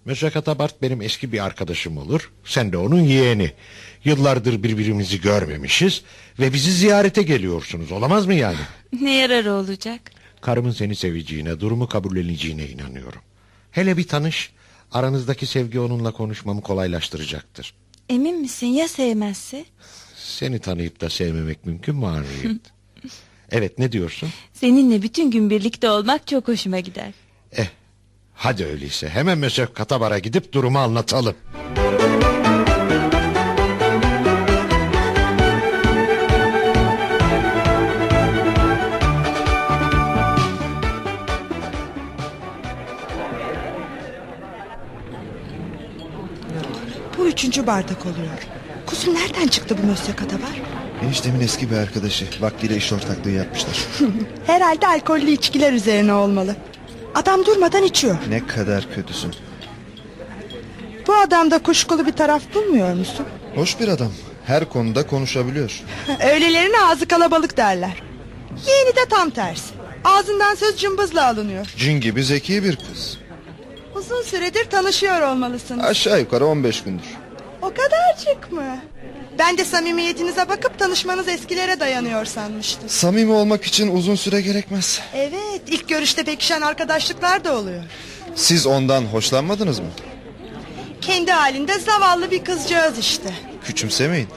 [SPEAKER 1] Mesela Katabart benim eski bir arkadaşım olur. Sen de onun yeğeni. Yıllardır birbirimizi görmemişiz ve bizi ziyarete geliyorsunuz. Olamaz mı yani?
[SPEAKER 8] Ne yararı olacak?
[SPEAKER 1] Karımın seni seveceğine, durumu kabulleneceğine inanıyorum. Hele bir tanış. Aranızdaki sevgi onunla konuşmamı kolaylaştıracaktır.
[SPEAKER 8] Emin misin ya sevmezse?
[SPEAKER 1] Seni tanıyıp da sevmemek mümkün mü Harriet? evet ne diyorsun?
[SPEAKER 8] Seninle bütün gün birlikte olmak çok hoşuma gider.
[SPEAKER 1] Eh, hadi öyleyse hemen Mesef Katabar'a gidip durumu anlatalım.
[SPEAKER 11] Bu üçüncü bardak oluyor. Kuzum nereden çıktı bu mösyö katabar?
[SPEAKER 5] Eniştemin eski bir arkadaşı. Vaktiyle iş ortaklığı yapmışlar.
[SPEAKER 11] Herhalde alkollü içkiler üzerine olmalı. Adam durmadan içiyor.
[SPEAKER 5] ne kadar kötüsün.
[SPEAKER 11] Bu adamda kuşkulu bir taraf bulmuyor musun?
[SPEAKER 5] Hoş bir adam. Her konuda konuşabiliyor.
[SPEAKER 11] Öğlelerin ağzı kalabalık derler. Yeğeni de tam tersi. Ağzından söz cımbızla alınıyor.
[SPEAKER 5] Cin gibi zeki bir kız.
[SPEAKER 11] Uzun süredir tanışıyor olmalısınız.
[SPEAKER 5] Aşağı yukarı 15 gündür.
[SPEAKER 11] O kadarcık mı? Ben de samimiyetinize bakıp tanışmanız eskilere dayanıyor sanmıştım.
[SPEAKER 5] Samimi olmak için uzun süre gerekmez.
[SPEAKER 11] Evet, ilk görüşte pekişen arkadaşlıklar da oluyor.
[SPEAKER 5] Siz ondan hoşlanmadınız mı?
[SPEAKER 11] Kendi halinde zavallı bir kızcağız işte.
[SPEAKER 5] Küçümsemeyin.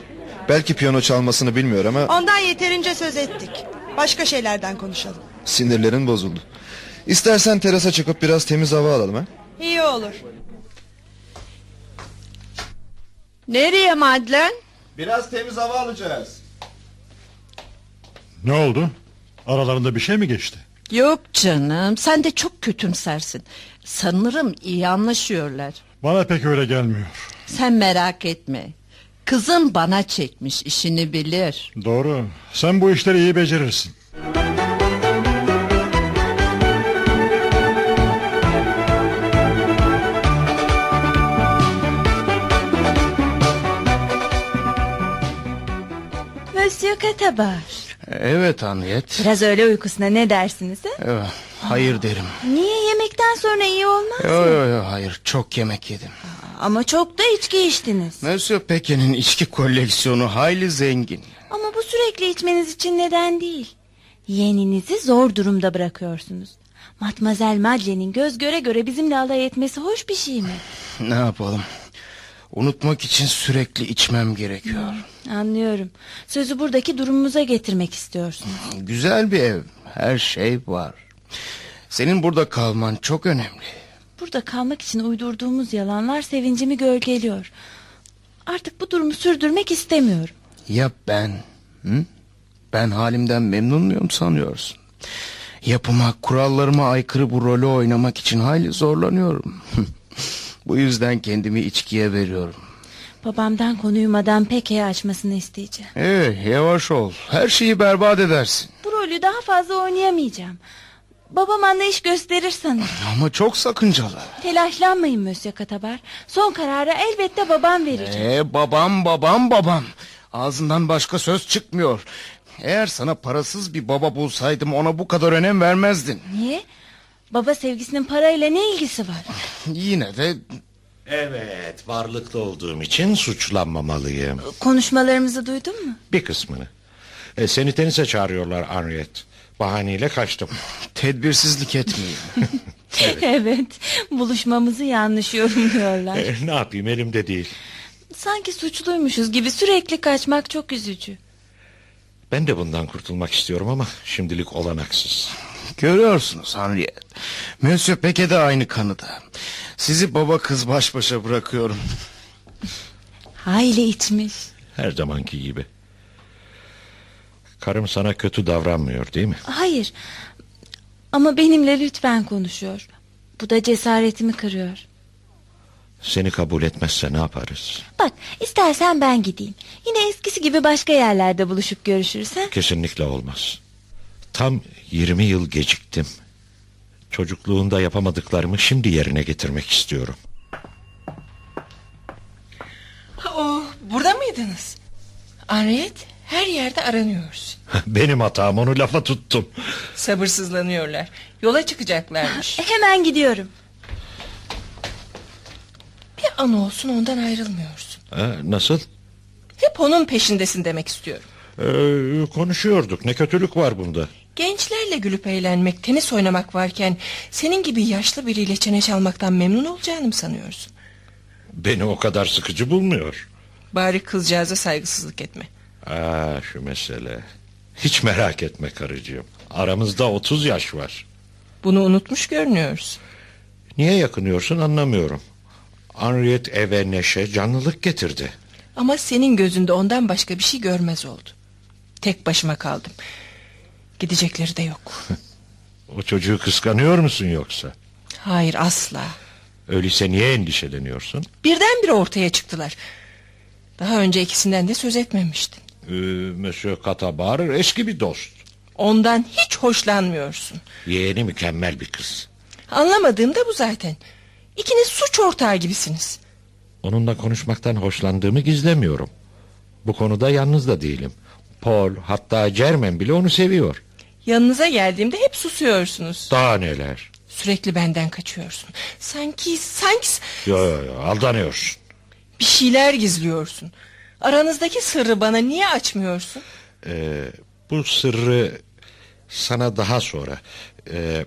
[SPEAKER 5] Belki piyano çalmasını bilmiyor ama
[SPEAKER 11] Ondan yeterince söz ettik. Başka şeylerden konuşalım.
[SPEAKER 5] sinirlerin bozuldu. İstersen terasa çıkıp biraz temiz hava alalım ha?
[SPEAKER 11] İyi olur.
[SPEAKER 3] Nereye Madlen?
[SPEAKER 5] Biraz temiz hava alacağız.
[SPEAKER 4] Ne oldu? Aralarında bir şey mi geçti?
[SPEAKER 3] Yok canım sen de çok kötümsersin. Sanırım iyi anlaşıyorlar.
[SPEAKER 4] Bana pek öyle gelmiyor.
[SPEAKER 3] Sen merak etme. Kızım bana çekmiş işini bilir.
[SPEAKER 4] Doğru. Sen bu işleri iyi becerirsin.
[SPEAKER 10] Monsieur Katabar.
[SPEAKER 7] Evet Henriette.
[SPEAKER 10] Biraz öyle uykusuna ne dersiniz? He?
[SPEAKER 7] Ee, Hayır derim.
[SPEAKER 8] Niye yemekten sonra iyi olmaz
[SPEAKER 7] Yo yo yo hayır çok yemek yedim.
[SPEAKER 8] Ama çok da içki içtiniz.
[SPEAKER 7] Monsieur Pekin'in içki koleksiyonu hayli zengin.
[SPEAKER 8] Ama bu sürekli içmeniz için neden değil. Yeğeninizi zor durumda bırakıyorsunuz. Matmazel Madlen'in göz göre göre bizimle alay etmesi hoş bir şey mi?
[SPEAKER 7] Ne yapalım? Unutmak için sürekli içmem gerekiyor.
[SPEAKER 8] Anlıyorum. Sözü buradaki durumumuza getirmek istiyorsunuz.
[SPEAKER 7] Güzel bir ev. Her şey var. Senin burada kalman çok önemli.
[SPEAKER 8] Burada kalmak için uydurduğumuz yalanlar sevincimi gölgeliyor. Artık bu durumu sürdürmek istemiyorum.
[SPEAKER 7] Ya ben? Hı? Ben halimden memnun muyum sanıyorsun? Yapıma, kurallarıma aykırı bu rolü oynamak için hayli zorlanıyorum. bu yüzden kendimi içkiye veriyorum.
[SPEAKER 8] Babamdan konuyu Madame Peke'ye açmasını isteyeceğim.
[SPEAKER 7] Ee, yavaş ol. Her şeyi berbat edersin.
[SPEAKER 8] Bu rolü daha fazla oynayamayacağım. Babam anlayış gösterir sanırım.
[SPEAKER 7] Ama çok sakıncalı.
[SPEAKER 8] Telaşlanmayın Mösyö Katabar. Son kararı elbette babam verir.
[SPEAKER 7] Ee, babam babam babam. Ağzından başka söz çıkmıyor. Eğer sana parasız bir baba bulsaydım ona bu kadar önem vermezdin.
[SPEAKER 8] Niye? Baba sevgisinin parayla ne ilgisi var?
[SPEAKER 7] Yine de
[SPEAKER 1] Evet varlıklı olduğum için suçlanmamalıyım.
[SPEAKER 8] Konuşmalarımızı duydun mu?
[SPEAKER 1] Bir kısmını. E, seni tenise çağırıyorlar Henriette. Bahaneyle kaçtım.
[SPEAKER 7] Tedbirsizlik etmeyeyim.
[SPEAKER 8] Evet. Buluşmamızı yanlış yorumluyorlar.
[SPEAKER 1] E, ne yapayım elimde değil.
[SPEAKER 8] Sanki suçluymuşuz gibi sürekli kaçmak çok üzücü.
[SPEAKER 1] Ben de bundan kurtulmak istiyorum ama şimdilik olanaksız.
[SPEAKER 7] Görüyorsunuz Henriette. Monsieur Peke de aynı kanıda. Sizi baba kız baş başa bırakıyorum.
[SPEAKER 8] Hayli içmiş.
[SPEAKER 1] Her zamanki gibi. Karım sana kötü davranmıyor değil mi?
[SPEAKER 8] Hayır. Ama benimle lütfen konuşuyor. Bu da cesaretimi kırıyor.
[SPEAKER 1] Seni kabul etmezse ne yaparız?
[SPEAKER 8] Bak istersen ben gideyim. Yine eskisi gibi başka yerlerde buluşup görüşürüz. ha?
[SPEAKER 1] Kesinlikle olmaz. Tam 20 yıl geciktim. Çocukluğunda yapamadıklarımı şimdi yerine getirmek istiyorum.
[SPEAKER 6] Oh, burada mıydınız? Henriette her yerde aranıyoruz.
[SPEAKER 1] Benim hatam onu lafa tuttum.
[SPEAKER 6] Sabırsızlanıyorlar. Yola çıkacaklarmış.
[SPEAKER 8] Hemen gidiyorum.
[SPEAKER 6] Bir an olsun ondan ayrılmıyorsun.
[SPEAKER 1] Ha, nasıl?
[SPEAKER 6] Hep onun peşindesin demek istiyorum.
[SPEAKER 1] Ee, konuşuyorduk. Ne kötülük var bunda?
[SPEAKER 6] Gençlerle gülüp eğlenmek, tenis oynamak varken... ...senin gibi yaşlı biriyle çene çalmaktan memnun olacağını mı sanıyorsun?
[SPEAKER 1] Beni o kadar sıkıcı bulmuyor.
[SPEAKER 6] Bari kızcağıza saygısızlık etme.
[SPEAKER 1] Aa, şu mesele. Hiç merak etme karıcığım. Aramızda 30 yaş var.
[SPEAKER 6] Bunu unutmuş görünüyoruz.
[SPEAKER 1] Niye yakınıyorsun anlamıyorum. Henriette eve neşe, canlılık getirdi.
[SPEAKER 6] Ama senin gözünde ondan başka bir şey görmez oldu. Tek başıma kaldım. Gidecekleri de yok.
[SPEAKER 1] O çocuğu kıskanıyor musun yoksa?
[SPEAKER 6] Hayır asla.
[SPEAKER 1] Öyleyse niye endişeleniyorsun?
[SPEAKER 6] Birdenbire ortaya çıktılar. Daha önce ikisinden de söz etmemiştin.
[SPEAKER 1] Ee, Monsieur Katabar eski bir dost.
[SPEAKER 6] Ondan hiç hoşlanmıyorsun.
[SPEAKER 1] Yeğeni mükemmel bir kız.
[SPEAKER 6] Anlamadığım da bu zaten. İkiniz suç ortağı gibisiniz.
[SPEAKER 1] Onunla konuşmaktan hoşlandığımı gizlemiyorum. Bu konuda yalnız da değilim. Paul hatta Cermen bile onu seviyor.
[SPEAKER 6] Yanınıza geldiğimde hep susuyorsunuz.
[SPEAKER 1] Daha neler.
[SPEAKER 6] Sürekli benden kaçıyorsun. Sanki, sanki
[SPEAKER 1] Yo, yo, yo, aldanıyorsun.
[SPEAKER 6] bir şeyler gizliyorsun. Aranızdaki sırrı bana niye açmıyorsun?
[SPEAKER 1] Ee, bu sırrı sana daha sonra... ee,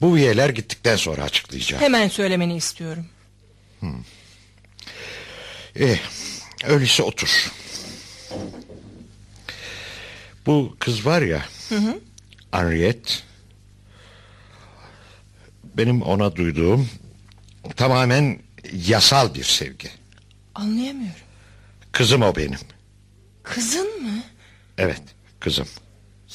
[SPEAKER 1] bu üyeler gittikten sonra açıklayacağım.
[SPEAKER 6] Hemen söylemeni istiyorum.
[SPEAKER 1] Eh, öyleyse otur. Bu kız var ya...
[SPEAKER 6] Hı hı.
[SPEAKER 1] Henriette benim ona duyduğum tamamen yasal bir sevgi.
[SPEAKER 6] Anlayamıyorum.
[SPEAKER 1] Kızım o benim.
[SPEAKER 6] Kızın mı?
[SPEAKER 1] Evet kızım.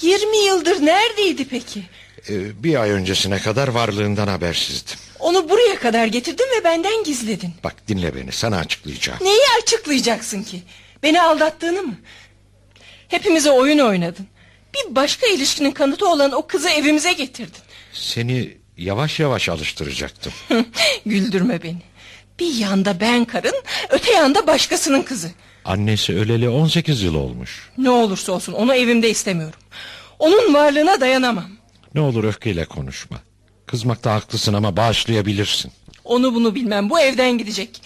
[SPEAKER 6] 20 yıldır neredeydi peki?
[SPEAKER 1] Ee, bir ay öncesine kadar varlığından habersizdim.
[SPEAKER 6] Onu buraya kadar getirdin ve benden gizledin.
[SPEAKER 1] Bak dinle beni sana açıklayacağım.
[SPEAKER 6] Neyi açıklayacaksın ki? Beni aldattığını mı? Hepimize oyun oynadın. Bir başka ilişkinin kanıtı olan o kızı evimize getirdin.
[SPEAKER 1] Seni yavaş yavaş alıştıracaktım.
[SPEAKER 6] Güldürme beni. Bir yanda ben karın, öte yanda başkasının kızı.
[SPEAKER 1] Annesi öleli 18 yıl olmuş.
[SPEAKER 6] Ne olursa olsun onu evimde istemiyorum. Onun varlığına dayanamam.
[SPEAKER 1] Ne olur öfkeyle konuşma. Kızmakta haklısın ama bağışlayabilirsin.
[SPEAKER 6] Onu bunu bilmem bu evden gidecek.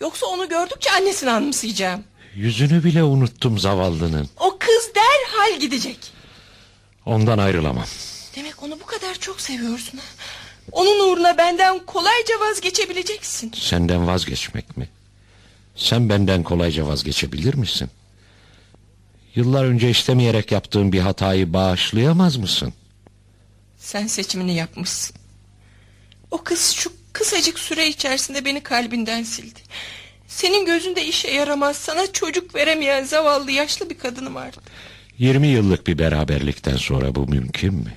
[SPEAKER 6] Yoksa onu gördükçe annesini anımsayacağım.
[SPEAKER 1] Yüzünü bile unuttum zavallının.
[SPEAKER 6] O kız derhal gidecek.
[SPEAKER 1] Ondan ayrılamam.
[SPEAKER 6] Demek onu bu kadar çok seviyorsun. ha? Onun uğruna benden kolayca vazgeçebileceksin.
[SPEAKER 1] Senden vazgeçmek mi? Sen benden kolayca vazgeçebilir misin? Yıllar önce istemeyerek yaptığın bir hatayı bağışlayamaz mısın?
[SPEAKER 6] Sen seçimini yapmışsın. O kız şu kısacık süre içerisinde beni kalbinden sildi. Senin gözünde işe yaramaz, sana çocuk veremeyen zavallı yaşlı bir kadınım artık.
[SPEAKER 1] 20 yıllık bir beraberlikten sonra bu mümkün mü?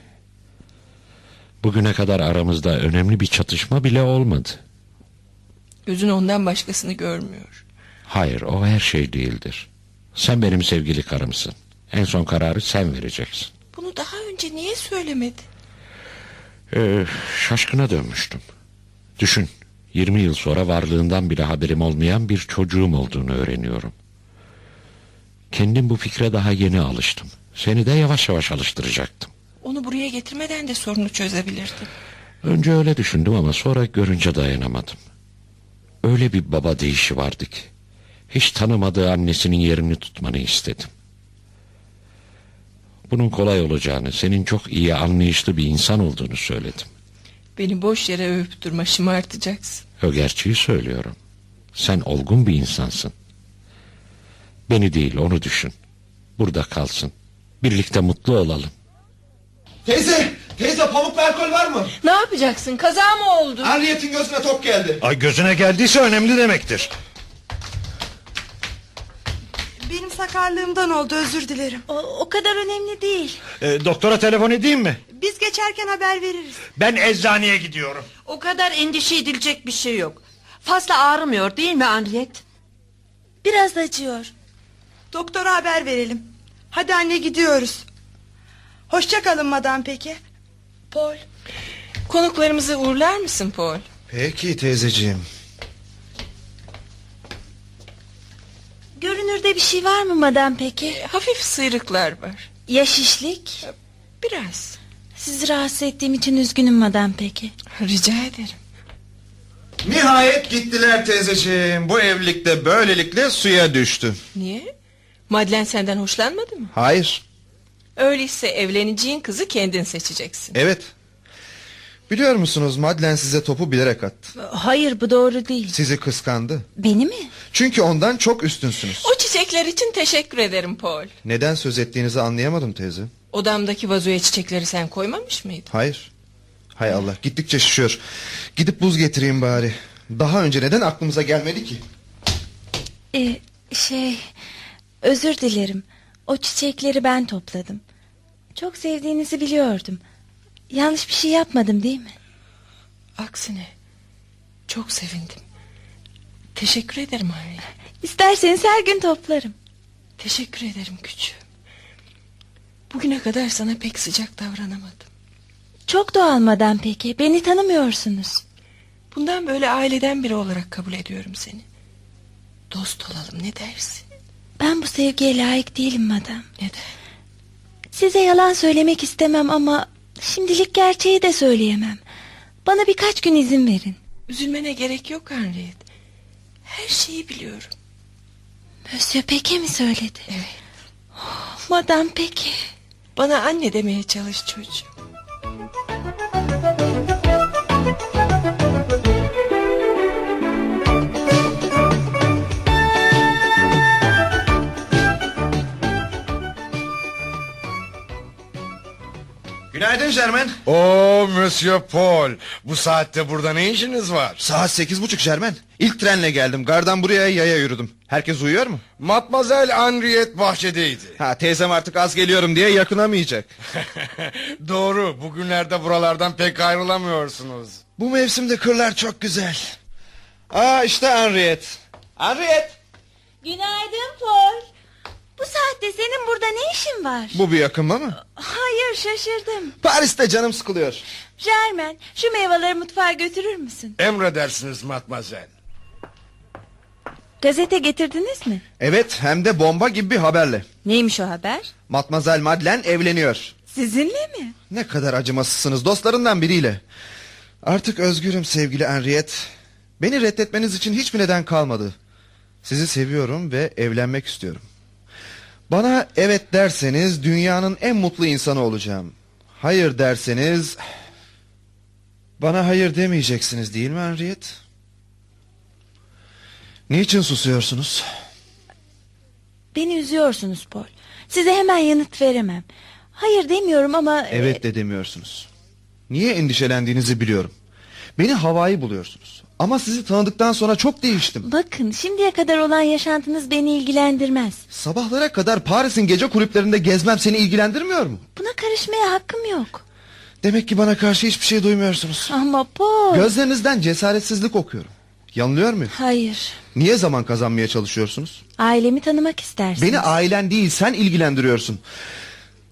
[SPEAKER 1] Bugüne kadar aramızda önemli bir çatışma bile olmadı.
[SPEAKER 6] Gözün ondan başkasını görmüyor.
[SPEAKER 1] Hayır, o her şey değildir. Sen benim sevgili karımsın. En son kararı sen vereceksin.
[SPEAKER 6] Bunu daha önce niye söylemedi?
[SPEAKER 1] Ee, şaşkına dönmüştüm. Düşün, 20 yıl sonra varlığından bile haberim olmayan bir çocuğum olduğunu öğreniyorum. Kendim bu fikre daha yeni alıştım. Seni de yavaş yavaş alıştıracaktım.
[SPEAKER 6] Onu buraya getirmeden de sorunu çözebilirdim.
[SPEAKER 1] Önce öyle düşündüm ama sonra görünce dayanamadım. Öyle bir baba değişi vardı ki. Hiç tanımadığı annesinin yerini tutmanı istedim. Bunun kolay olacağını, senin çok iyi anlayışlı bir insan olduğunu söyledim.
[SPEAKER 6] Beni boş yere övüp durma şımartacaksın.
[SPEAKER 1] O gerçeği söylüyorum. Sen olgun bir insansın. Beni değil onu düşün. Burada kalsın. Birlikte mutlu olalım.
[SPEAKER 5] Teyze! Teyze pamuklu alkol var mı?
[SPEAKER 6] Ne yapacaksın? Kaza mı oldu?
[SPEAKER 5] Harriet'in gözüne top geldi.
[SPEAKER 12] Ay gözüne geldiyse önemli demektir.
[SPEAKER 11] Benim sakarlığımdan oldu özür dilerim.
[SPEAKER 8] O, o kadar önemli değil.
[SPEAKER 12] Ee, doktora telefon edeyim mi?
[SPEAKER 11] Biz geçerken haber veririz.
[SPEAKER 12] Ben eczaneye gidiyorum.
[SPEAKER 3] O kadar endişe edilecek bir şey yok. Fazla ağrımıyor değil mi Anriyet?
[SPEAKER 8] Biraz acıyor.
[SPEAKER 11] Doktora haber verelim. Hadi anne gidiyoruz. Hoşça kalın madam peki.
[SPEAKER 6] Paul. Konuklarımızı uğurlar mısın Paul?
[SPEAKER 5] Peki teyzeciğim.
[SPEAKER 8] Görünürde bir şey var mı madem peki?
[SPEAKER 6] E, Hafif sıyrıklar var.
[SPEAKER 8] Ya şişlik?
[SPEAKER 6] Biraz.
[SPEAKER 8] Sizi rahatsız ettiğim için üzgünüm madem peki.
[SPEAKER 6] Rica ederim.
[SPEAKER 5] Nihayet gittiler teyzeciğim. Bu evlilikte böylelikle suya düştü.
[SPEAKER 6] Niye? Madlen senden hoşlanmadı mı?
[SPEAKER 5] Hayır.
[SPEAKER 6] Öyleyse evleneceğin kızı kendin seçeceksin.
[SPEAKER 5] Evet. Biliyor musunuz Madlen size topu bilerek attı.
[SPEAKER 8] Hayır bu doğru değil.
[SPEAKER 5] Sizi kıskandı.
[SPEAKER 8] Beni mi?
[SPEAKER 5] Çünkü ondan çok üstünsünüz.
[SPEAKER 6] O çiçekler için teşekkür ederim Paul.
[SPEAKER 5] Neden söz ettiğinizi anlayamadım teyze.
[SPEAKER 6] Odamdaki vazoya çiçekleri sen koymamış mıydın?
[SPEAKER 5] Hayır. Hay Allah gittikçe şişiyor. Gidip buz getireyim bari. Daha önce neden aklımıza gelmedi ki?
[SPEAKER 8] Ee, şey özür dilerim. O çiçekleri ben topladım. Çok sevdiğinizi biliyordum. Yanlış bir şey yapmadım değil mi?
[SPEAKER 6] Aksine çok sevindim. Teşekkür ederim Harry.
[SPEAKER 8] İsterseniz her gün toplarım.
[SPEAKER 6] Teşekkür ederim küçüğüm. Bugüne kadar sana pek sıcak davranamadım.
[SPEAKER 8] Çok doğalmadan peki. Beni tanımıyorsunuz.
[SPEAKER 6] Bundan böyle aileden biri olarak kabul ediyorum seni. Dost olalım ne dersin?
[SPEAKER 8] Ben bu sevgiye layık değilim madam.
[SPEAKER 6] Neden?
[SPEAKER 8] Size yalan söylemek istemem ama şimdilik gerçeği de söyleyemem. Bana birkaç gün izin verin.
[SPEAKER 6] Üzülmene gerek yok Henriette. Her şeyi biliyorum.
[SPEAKER 8] Monsieur Peke mi söyledi?
[SPEAKER 6] Evet.
[SPEAKER 8] Oh, madam Peke.
[SPEAKER 6] Bana anne demeye çalış çocuğum.
[SPEAKER 5] Günaydın Jermen.
[SPEAKER 13] Oo Oh, Monsieur Paul. Bu saatte burada ne işiniz var?
[SPEAKER 5] Saat sekiz buçuk Jermen. İlk trenle geldim. Gardan buraya yaya yürüdüm. Herkes uyuyor mu?
[SPEAKER 13] Matmazel Henriette bahçedeydi.
[SPEAKER 5] Ha teyzem artık az geliyorum diye yakınamayacak.
[SPEAKER 13] Doğru. Bugünlerde buralardan pek ayrılamıyorsunuz.
[SPEAKER 5] Bu mevsimde kırlar çok güzel. Aa işte Henriette. Henriette.
[SPEAKER 8] Günaydın Paul. Bu saatte senin burada ne işin var?
[SPEAKER 5] Bu bir yakınma mı?
[SPEAKER 8] Hayır şaşırdım.
[SPEAKER 5] Paris'te canım sıkılıyor.
[SPEAKER 8] Jermen şu meyveleri mutfağa götürür müsün?
[SPEAKER 13] Emredersiniz Matmazel.
[SPEAKER 8] Gazete getirdiniz mi?
[SPEAKER 5] Evet hem de bomba gibi bir haberle.
[SPEAKER 8] Neymiş o haber?
[SPEAKER 5] Matmazel Madeleine evleniyor.
[SPEAKER 8] Sizinle mi?
[SPEAKER 5] Ne kadar acımasızsınız dostlarından biriyle. Artık özgürüm sevgili Henriette. Beni reddetmeniz için hiçbir neden kalmadı. Sizi seviyorum ve evlenmek istiyorum. Bana evet derseniz dünyanın en mutlu insanı olacağım. Hayır derseniz... Bana hayır demeyeceksiniz değil mi Henriette? Niçin susuyorsunuz?
[SPEAKER 8] Beni üzüyorsunuz Paul. Size hemen yanıt veremem. Hayır demiyorum ama...
[SPEAKER 5] Evet de demiyorsunuz. Niye endişelendiğinizi biliyorum. Beni havai buluyorsunuz. Ama sizi tanıdıktan sonra çok değiştim.
[SPEAKER 8] Bakın şimdiye kadar olan yaşantınız beni ilgilendirmez.
[SPEAKER 5] Sabahlara kadar Paris'in gece kulüplerinde gezmem seni ilgilendirmiyor mu?
[SPEAKER 8] Buna karışmaya hakkım yok.
[SPEAKER 5] Demek ki bana karşı hiçbir şey duymuyorsunuz.
[SPEAKER 8] Ama Paul...
[SPEAKER 5] Gözlerinizden cesaretsizlik okuyorum. Yanılıyor muyum?
[SPEAKER 8] Hayır.
[SPEAKER 5] Niye zaman kazanmaya çalışıyorsunuz?
[SPEAKER 8] Ailemi tanımak istersiniz.
[SPEAKER 5] Beni ailen değil sen ilgilendiriyorsun.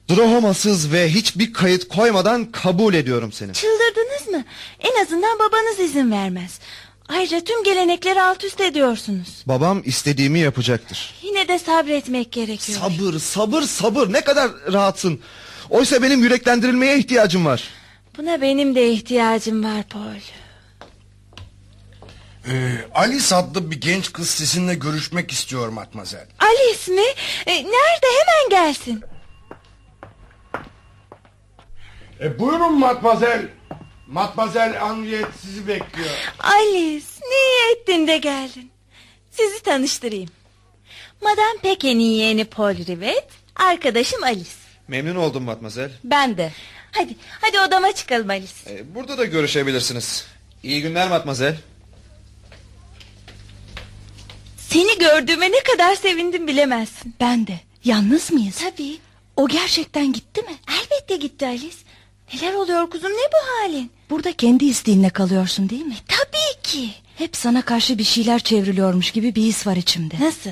[SPEAKER 5] Drohomasız ve hiçbir kayıt koymadan kabul ediyorum seni.
[SPEAKER 8] Çıldırdınız mı? En azından babanız izin vermez. Ayrıca tüm gelenekleri alt üst ediyorsunuz.
[SPEAKER 5] Babam istediğimi yapacaktır.
[SPEAKER 8] Yine de sabretmek gerekiyor.
[SPEAKER 5] Sabır, sabır, sabır. Ne kadar rahatsın. Oysa benim yüreklendirilmeye ihtiyacım var.
[SPEAKER 8] Buna benim de ihtiyacım var Paul.
[SPEAKER 4] Ee, Alice adlı bir genç kız sizinle görüşmek istiyor matmazel.
[SPEAKER 8] Alice mi? E, nerede? Hemen gelsin.
[SPEAKER 4] E, buyurun matmazel. Matmazel Henriette sizi bekliyor.
[SPEAKER 8] Alice ne iyi ettin de geldin. Sizi tanıştırayım. Madame Pekin'in yeğeni Paul Rivet. Arkadaşım Alice.
[SPEAKER 5] Memnun oldum matmazel.
[SPEAKER 8] Ben de. Hadi, hadi odama çıkalım Alice.
[SPEAKER 5] Ee, burada da görüşebilirsiniz. İyi günler matmazel.
[SPEAKER 8] Seni gördüğüme ne kadar sevindim bilemezsin.
[SPEAKER 10] Ben de. Yalnız mıyız?
[SPEAKER 8] Tabii.
[SPEAKER 10] O gerçekten gitti mi?
[SPEAKER 8] Elbette gitti Alice. Neler oluyor kuzum ne bu halin?
[SPEAKER 10] Burada kendi isteğinle kalıyorsun değil mi?
[SPEAKER 8] Tabii ki.
[SPEAKER 10] Hep sana karşı bir şeyler çevriliyormuş gibi bir his var içimde.
[SPEAKER 8] Nasıl?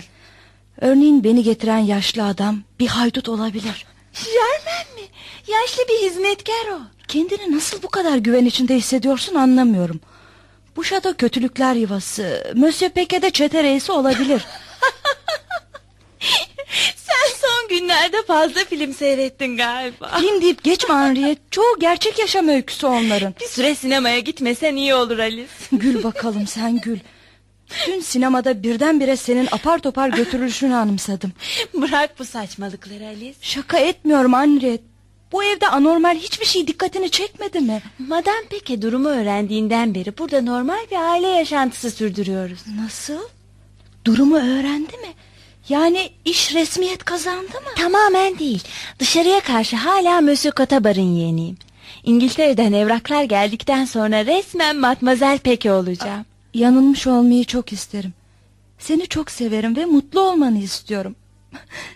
[SPEAKER 10] Örneğin beni getiren yaşlı adam bir haydut olabilir.
[SPEAKER 8] Jermen mi? Yaşlı bir hizmetkar o.
[SPEAKER 10] Kendini nasıl bu kadar güven içinde hissediyorsun anlamıyorum. Bu şato kötülükler yuvası. Monsieur Peke de çete reisi olabilir.
[SPEAKER 8] Sen son günlerde fazla film seyrettin galiba.
[SPEAKER 10] Film deyip geçme Henriette. Çoğu gerçek yaşam öyküsü onların.
[SPEAKER 8] Bir süre sinemaya gitmesen iyi olur Alice.
[SPEAKER 10] Gül bakalım sen gül. Dün sinemada birdenbire senin apar topar götürülüşünü anımsadım.
[SPEAKER 8] Bırak bu saçmalıkları Alice.
[SPEAKER 10] Şaka etmiyorum Henriette. Bu evde anormal hiçbir şey dikkatini çekmedi mi?
[SPEAKER 8] Madame Peke durumu öğrendiğinden beri burada normal bir aile yaşantısı sürdürüyoruz.
[SPEAKER 10] Nasıl? Durumu öğrendi mi? Yani iş resmiyet kazandı mı?
[SPEAKER 8] Tamamen değil. Dışarıya karşı hala Monsieur Cotabar'ın yeğeniyim. İngiltere'den evraklar geldikten sonra resmen Matmazel Peke olacağım.
[SPEAKER 10] Yanılmış olmayı çok isterim. Seni çok severim ve mutlu olmanı istiyorum.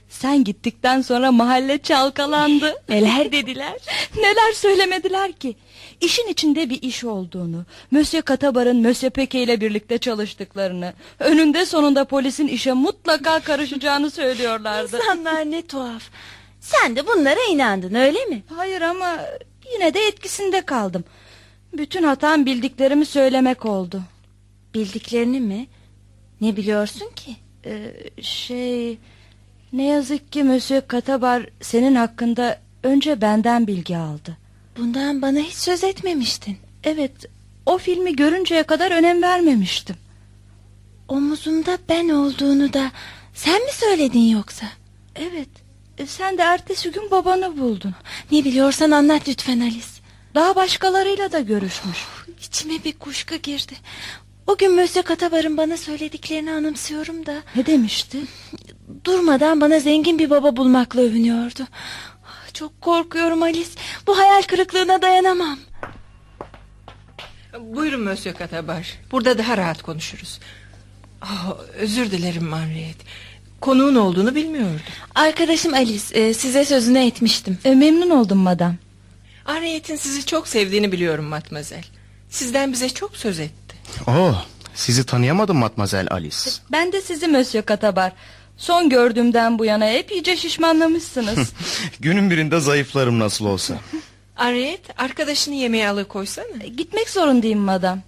[SPEAKER 10] Sen gittikten sonra mahalle çalkalandı.
[SPEAKER 8] Neler dediler?
[SPEAKER 10] Neler söylemediler ki? İşin içinde bir iş olduğunu, Mösyö Katabar'ın Mösyö Peke ile birlikte çalıştıklarını, önünde sonunda polisin işe mutlaka karışacağını söylüyorlardı.
[SPEAKER 8] İnsanlar ne tuhaf. Sen de bunlara inandın öyle mi?
[SPEAKER 10] Hayır ama yine de etkisinde kaldım. Bütün hatam bildiklerimi söylemek oldu.
[SPEAKER 8] Bildiklerini mi? Ne biliyorsun ki?
[SPEAKER 10] Ee, şey... Ne yazık ki Mösyö Katabar senin hakkında önce benden bilgi aldı.
[SPEAKER 8] Bundan bana hiç söz etmemiştin.
[SPEAKER 10] Evet, o filmi görünceye kadar önem vermemiştim.
[SPEAKER 8] Omuzumda ben olduğunu da sen mi söyledin yoksa?
[SPEAKER 10] Evet, E, sen de ertesi gün babanı buldun.
[SPEAKER 8] Ne biliyorsan anlat lütfen Alice.
[SPEAKER 10] Daha başkalarıyla da görüşmüş.
[SPEAKER 8] Oh, içime bir kuşka girdi. O gün Mösyö Katabar'ın bana söylediklerini anımsıyorum da...
[SPEAKER 10] Ne demişti?
[SPEAKER 8] Durmadan bana zengin bir baba bulmakla övünüyordu. Ah, Çok korkuyorum Alice. Bu hayal kırıklığına dayanamam.
[SPEAKER 6] Buyurun Monsieur Katabar. Burada daha rahat konuşuruz. Ah, özür dilerim Manriyet. Konuğun olduğunu bilmiyordum.
[SPEAKER 8] Arkadaşım Alice e, size sözünü etmiştim.
[SPEAKER 10] E, memnun oldum madam.
[SPEAKER 6] Manriyet'in sizi çok sevdiğini biliyorum Matmazel. Sizden bize çok söz etti.
[SPEAKER 7] Oh, sizi tanıyamadım Matmazel Alice.
[SPEAKER 10] Ben de sizi Monsieur Katabar. Son gördüğümden bu yana hep iyice şişmanlamışsınız.
[SPEAKER 7] Günün birinde zayıflarım nasıl olsa.
[SPEAKER 10] E,
[SPEAKER 6] Ariyet arkadaşını yemeğe alıkoysana.
[SPEAKER 10] Gitmek zorundayım madam.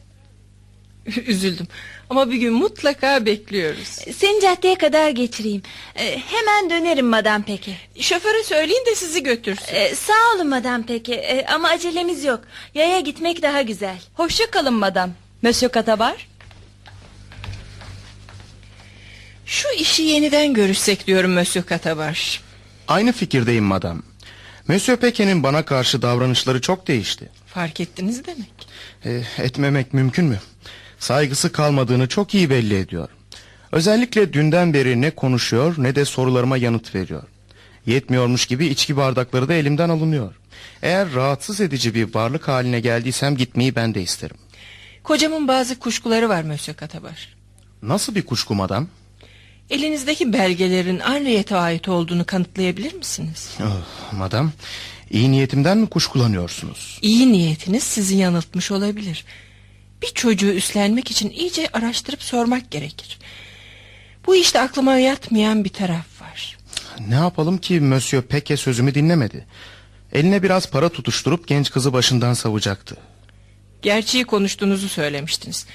[SPEAKER 6] Üzüldüm ama bir gün mutlaka bekliyoruz.
[SPEAKER 14] Seni caddeye kadar getireyim.
[SPEAKER 8] E,
[SPEAKER 14] Ee, hemen dönerim madam peki.
[SPEAKER 6] Şoföre söyleyin de sizi götürsün.
[SPEAKER 8] E,
[SPEAKER 14] sağ olun madam peki Ee, ama acelemiz yok. Yaya gitmek daha güzel.
[SPEAKER 10] Hoşça kalın madam. Monsieur Katabar.
[SPEAKER 6] Şu işi yeniden görüşsek diyorum Monsieur Katabar.
[SPEAKER 7] Aynı fikirdeyim madam. Monsieur Peke'nin bana karşı davranışları çok değişti.
[SPEAKER 6] Fark ettiniz demek.
[SPEAKER 7] E, etmemek mümkün mü? Saygısı kalmadığını çok iyi belli ediyor. Özellikle dünden beri ne konuşuyor ne de sorularıma yanıt veriyor. Yetmiyormuş gibi içki bardakları da elimden alınıyor. Eğer rahatsız edici bir varlık haline geldiysem gitmeyi ben de isterim.
[SPEAKER 6] Kocamın bazı kuşkuları var Monsieur Katabar.
[SPEAKER 7] Nasıl bir kuşkum adam?
[SPEAKER 6] Elinizdeki belgelerin Henriette'e ait olduğunu kanıtlayabilir misiniz?
[SPEAKER 7] Oh, madam, iyi niyetimden mi kuşkulanıyorsunuz?
[SPEAKER 6] İyi niyetiniz sizi yanıltmış olabilir. Bir çocuğu üstlenmek için iyice araştırıp sormak gerekir. Bu işte aklıma yatmayan bir taraf var.
[SPEAKER 7] Ne yapalım ki Monsieur Peke sözümü dinlemedi. Eline biraz para tutuşturup genç kızı başından savacaktı.
[SPEAKER 6] Gerçeği konuştuğunuzu söylemiştiniz.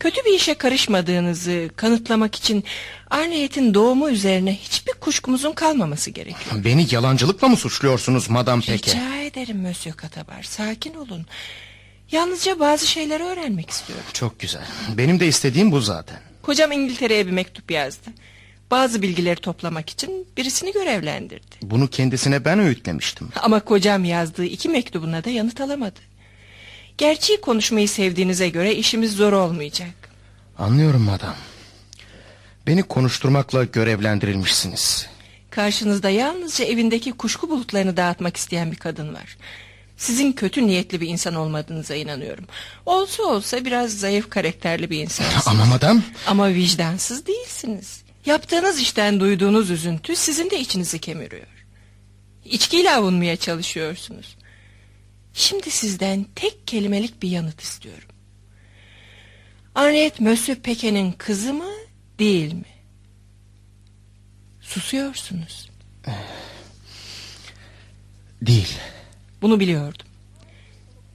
[SPEAKER 6] Kötü bir işe karışmadığınızı kanıtlamak için Arneyet'in doğumu üzerine hiçbir kuşkumuzun kalmaması gerekir.
[SPEAKER 7] Beni yalancılıkla mı suçluyorsunuz Madame Peke?
[SPEAKER 6] Rica ederim Monsieur Katabar sakin olun. Yalnızca bazı şeyleri öğrenmek istiyorum.
[SPEAKER 7] Çok güzel. Benim de istediğim bu zaten.
[SPEAKER 6] Kocam İngiltere'ye bir mektup yazdı. Bazı bilgileri toplamak için birisini görevlendirdi.
[SPEAKER 7] Bunu kendisine ben öğütlemiştim.
[SPEAKER 6] Ama kocam yazdığı iki mektubuna da yanıt alamadı. Gerçeği konuşmayı sevdiğinize göre işimiz zor olmayacak.
[SPEAKER 7] Anlıyorum madam. Beni konuşturmakla görevlendirilmişsiniz.
[SPEAKER 6] Karşınızda yalnızca evindeki kuşku bulutlarını dağıtmak isteyen bir kadın var. Sizin kötü niyetli bir insan olmadığınıza inanıyorum. Olsa olsa biraz zayıf karakterli bir insansınız.
[SPEAKER 7] Ama madam...
[SPEAKER 6] Ama vicdansız değilsiniz. Yaptığınız işten duyduğunuz üzüntü sizin de içinizi kemiriyor. İçkiyle avunmaya çalışıyorsunuz. Şimdi sizden tek kelimelik bir yanıt istiyorum. Henriette Monsieur Peke'nin kızı mı değil mi? Susuyorsunuz.
[SPEAKER 7] Değil.
[SPEAKER 6] Bunu biliyordum.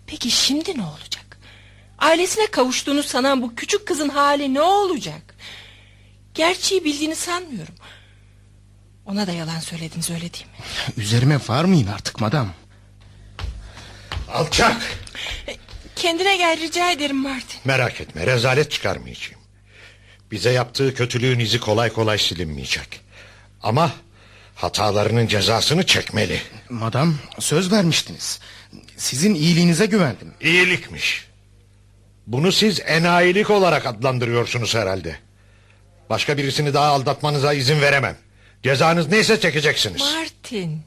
[SPEAKER 6] Peki şimdi ne olacak? Ailesine kavuştuğunu sanan bu küçük kızın hali ne olacak? Gerçeği bildiğini sanmıyorum. Ona da yalan söylediniz öyle değil mi?
[SPEAKER 7] Üzerime varmayın artık madam.
[SPEAKER 1] Alçak!
[SPEAKER 6] Kendine gel rica ederim Martin.
[SPEAKER 1] Merak etme rezalet çıkarmayacağım. Bize yaptığı kötülüğün izi kolay kolay silinmeyecek. Ama hatalarının cezasını çekmeli.
[SPEAKER 7] Madam söz vermiştiniz. Sizin iyiliğinize güvendim.
[SPEAKER 1] İyilikmiş. Bunu siz enayilik olarak adlandırıyorsunuz herhalde. Başka birisini daha aldatmanıza izin veremem. Cezanız neyse çekeceksiniz.
[SPEAKER 6] Martin.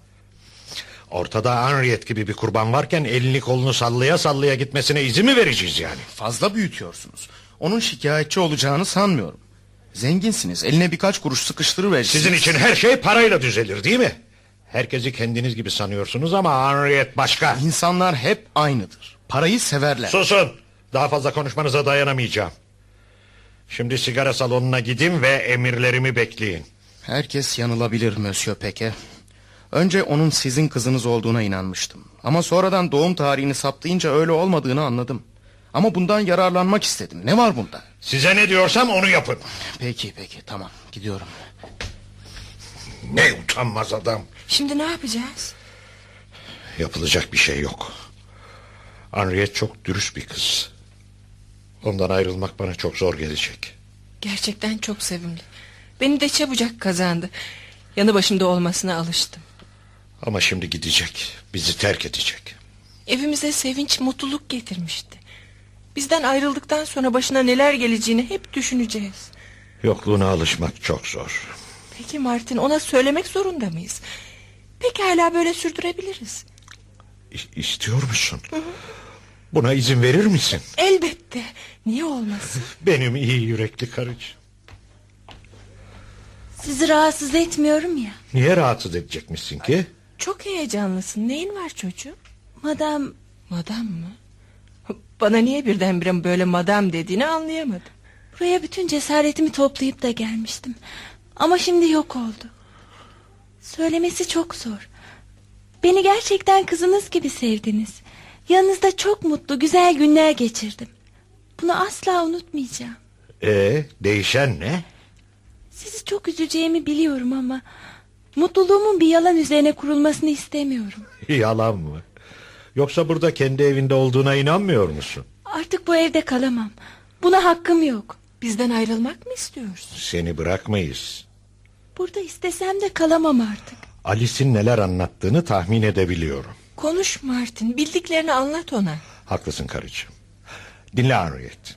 [SPEAKER 1] Ortada Henriette gibi bir kurban varken elini kolunu sallaya sallaya gitmesine izin mi vereceğiz yani?
[SPEAKER 7] Fazla büyütüyorsunuz. Onun şikayetçi olacağını sanmıyorum. Zenginsiniz. Eline birkaç kuruş sıkıştırıversiniz.
[SPEAKER 1] Sizin için her şey parayla düzelir değil mi? Herkesi kendiniz gibi sanıyorsunuz ama Henriette başka.
[SPEAKER 7] İnsanlar hep aynıdır. Parayı severler.
[SPEAKER 1] Susun. Daha fazla konuşmanıza dayanamayacağım. Şimdi sigara salonuna gidin ve emirlerimi bekleyin.
[SPEAKER 7] Herkes yanılabilir Monsieur Peke. Önce onun sizin kızınız olduğuna inanmıştım. Ama sonradan doğum tarihini saptayınca öyle olmadığını anladım. Ama bundan yararlanmak istedim. Ne var bunda?
[SPEAKER 1] Size ne diyorsam onu yapın.
[SPEAKER 7] Peki peki tamam gidiyorum.
[SPEAKER 1] Ne utanmaz adam.
[SPEAKER 6] Şimdi ne yapacağız?
[SPEAKER 1] Yapılacak bir şey yok. Henriette çok dürüst bir kız. Ondan ayrılmak bana çok zor gelecek.
[SPEAKER 6] Gerçekten çok sevimli. Beni de çabucak kazandı. Yanı başımda olmasına alıştım.
[SPEAKER 1] Ama şimdi gidecek. Bizi terk edecek.
[SPEAKER 6] Evimize sevinç, mutluluk getirmişti. Bizden ayrıldıktan sonra başına neler geleceğini hep düşüneceğiz.
[SPEAKER 1] Yokluğuna alışmak çok zor.
[SPEAKER 6] Peki Martin ona söylemek zorunda mıyız? Pekala böyle sürdürebiliriz.
[SPEAKER 1] İ- istiyor musun? Buna izin verir misin?
[SPEAKER 6] Elbette. Niye olmasın?
[SPEAKER 1] Benim iyi yürekli karıcığım.
[SPEAKER 14] Sizi rahatsız etmiyorum ya.
[SPEAKER 1] Niye rahatsız edecekmişsin ki?
[SPEAKER 6] Çok heyecanlısın. Neyin var çocuğum?
[SPEAKER 14] Madam
[SPEAKER 6] Madam mı? Bana niye birdenbire böyle madam dediğini anlayamadım.
[SPEAKER 14] buraya bütün cesaretimi toplayıp da gelmiştim. Ama şimdi yok oldu. Söylemesi çok zor. Beni gerçekten kızınız gibi sevdiniz. Yanınızda çok mutlu güzel günler geçirdim.
[SPEAKER 8] Bunu asla unutmayacağım.
[SPEAKER 1] Ee, değişen ne?
[SPEAKER 8] Sizi çok üzeceğimi biliyorum ama... ...mutluluğumun bir yalan üzerine kurulmasını istemiyorum.
[SPEAKER 1] Yalan mı? Yoksa burada kendi evinde olduğuna inanmıyor musun?
[SPEAKER 8] Artık bu evde kalamam. Buna hakkım yok.
[SPEAKER 6] Bizden ayrılmak mı istiyorsun?
[SPEAKER 1] Seni bırakmayız.
[SPEAKER 8] Burada istesem de kalamam artık.
[SPEAKER 1] Alice'in neler anlattığını tahmin edebiliyorum.
[SPEAKER 6] Konuş Martin bildiklerini anlat ona.
[SPEAKER 1] Haklısın karıcığım. Dinle Henriette.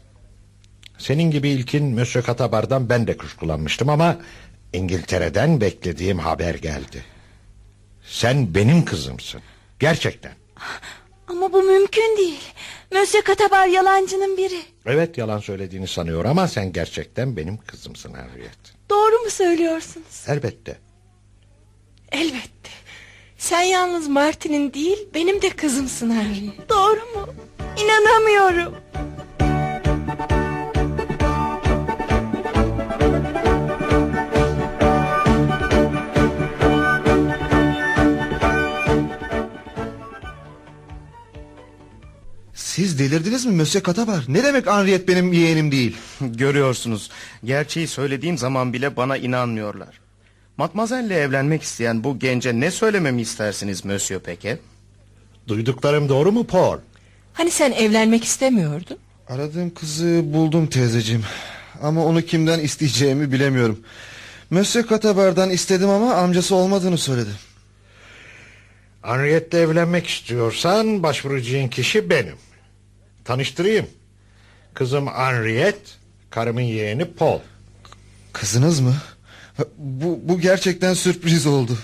[SPEAKER 1] Senin gibi ilkin Monsieur Katabar'dan ben de kuşkulanmıştım ama... ...İngiltere'den beklediğim haber geldi. Sen benim kızımsın. Gerçekten.
[SPEAKER 8] Ama bu mümkün değil. Monsieur Katabar yalancının biri.
[SPEAKER 1] Evet yalan söylediğini sanıyor ama sen gerçekten benim kızımsın Henriette.
[SPEAKER 8] Doğru mu söylüyorsunuz?
[SPEAKER 1] Elbette.
[SPEAKER 6] Elbette. Sen yalnız Martin'in değil benim de kızımsın Harry.
[SPEAKER 8] Doğru mu? İnanamıyorum.
[SPEAKER 5] Siz delirdiniz mi Mösyö Katabar? Ne demek Henriette benim yeğenim değil?
[SPEAKER 7] Görüyorsunuz. Gerçeği söylediğim zaman bile bana inanmıyorlar. Matmazel'le evlenmek isteyen bu gence ne söylememi istersiniz Mösyö Peke?
[SPEAKER 1] Duyduklarım doğru mu Paul?
[SPEAKER 6] Hani sen evlenmek istemiyordun?
[SPEAKER 5] Aradığım kızı buldum teyzeciğim. Ama onu kimden isteyeceğimi bilemiyorum. Mösyö Katabar'dan istedim ama amcası olmadığını söyledi.
[SPEAKER 1] Henriette'le evlenmek istiyorsan başvuracağın kişi benim. Tanıştırayım. Kızım Henriette, karımın yeğeni Paul.
[SPEAKER 5] Kızınız mı? Bu, bu gerçekten sürpriz oldu.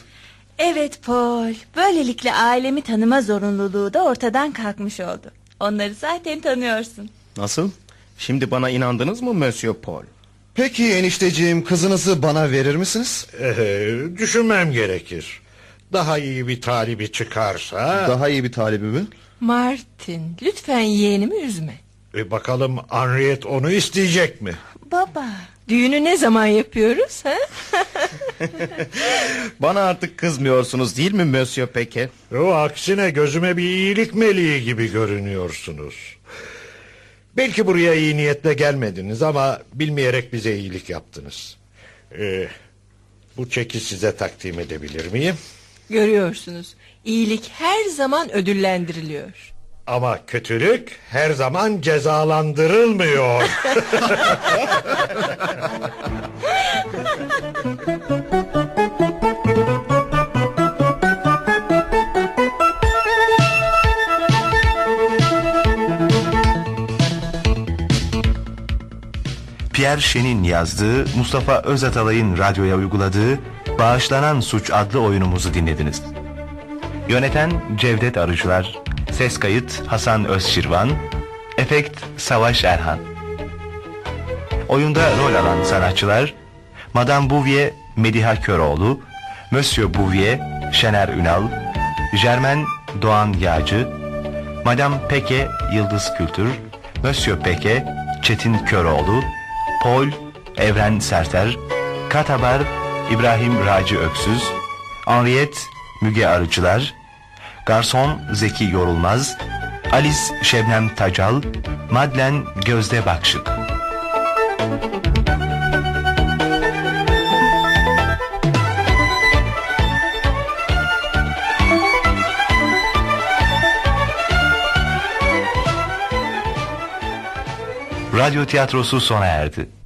[SPEAKER 8] Evet Paul. Böylelikle ailemi tanıma zorunluluğu da ortadan kalkmış oldu. Onları zaten tanıyorsun.
[SPEAKER 7] Nasıl? Şimdi bana inandınız mı Monsieur Paul?
[SPEAKER 5] Peki enişteciğim kızınızı bana verir misiniz?
[SPEAKER 1] Ee, düşünmem gerekir. Daha iyi bir talibi çıkarsa...
[SPEAKER 5] Daha iyi bir talibi mi?
[SPEAKER 6] Martin lütfen yeğenimi üzme.
[SPEAKER 1] E bakalım Henriette onu isteyecek mi?
[SPEAKER 8] Baba.
[SPEAKER 6] Düğünü ne zaman yapıyoruz? Ha?
[SPEAKER 7] Bana artık kızmıyorsunuz değil mi Monsieur Peke?
[SPEAKER 1] O aksine gözüme bir iyilik meleği gibi görünüyorsunuz. Belki buraya iyi niyetle gelmediniz ama bilmeyerek bize iyilik yaptınız. Ee, bu çeki size takdim edebilir miyim?
[SPEAKER 6] Görüyorsunuz iyilik her zaman ödüllendiriliyor.
[SPEAKER 1] Ama kötülük her zaman cezalandırılmıyor.
[SPEAKER 2] Pierre Şen'in yazdığı, Mustafa Özatalay'ın radyoya uyguladığı Bağışlanan Suç adlı oyunumuzu dinlediniz. Yöneten Cevdet Arıcılar, ses kayıt Hasan Özşirvan, efekt Savaş Erhan. Oyunda rol alan sanatçılar Madame Bouvier Mediha Köroğlu, Monsieur Bouvier Şener Ünal, Germain Doğan Yağcı, Madame Peke Yıldız Kültür, Monsieur Peke Çetin Köroğlu, Paul Evren Serter, Katabar İbrahim Raci Öksüz, Henriette Müge Arıcılar, Garson Zeki Yorulmaz, Alice Şebnem Tacal, Madlen Gözde Bakşık. Radyo tiyatrosu sona erdi.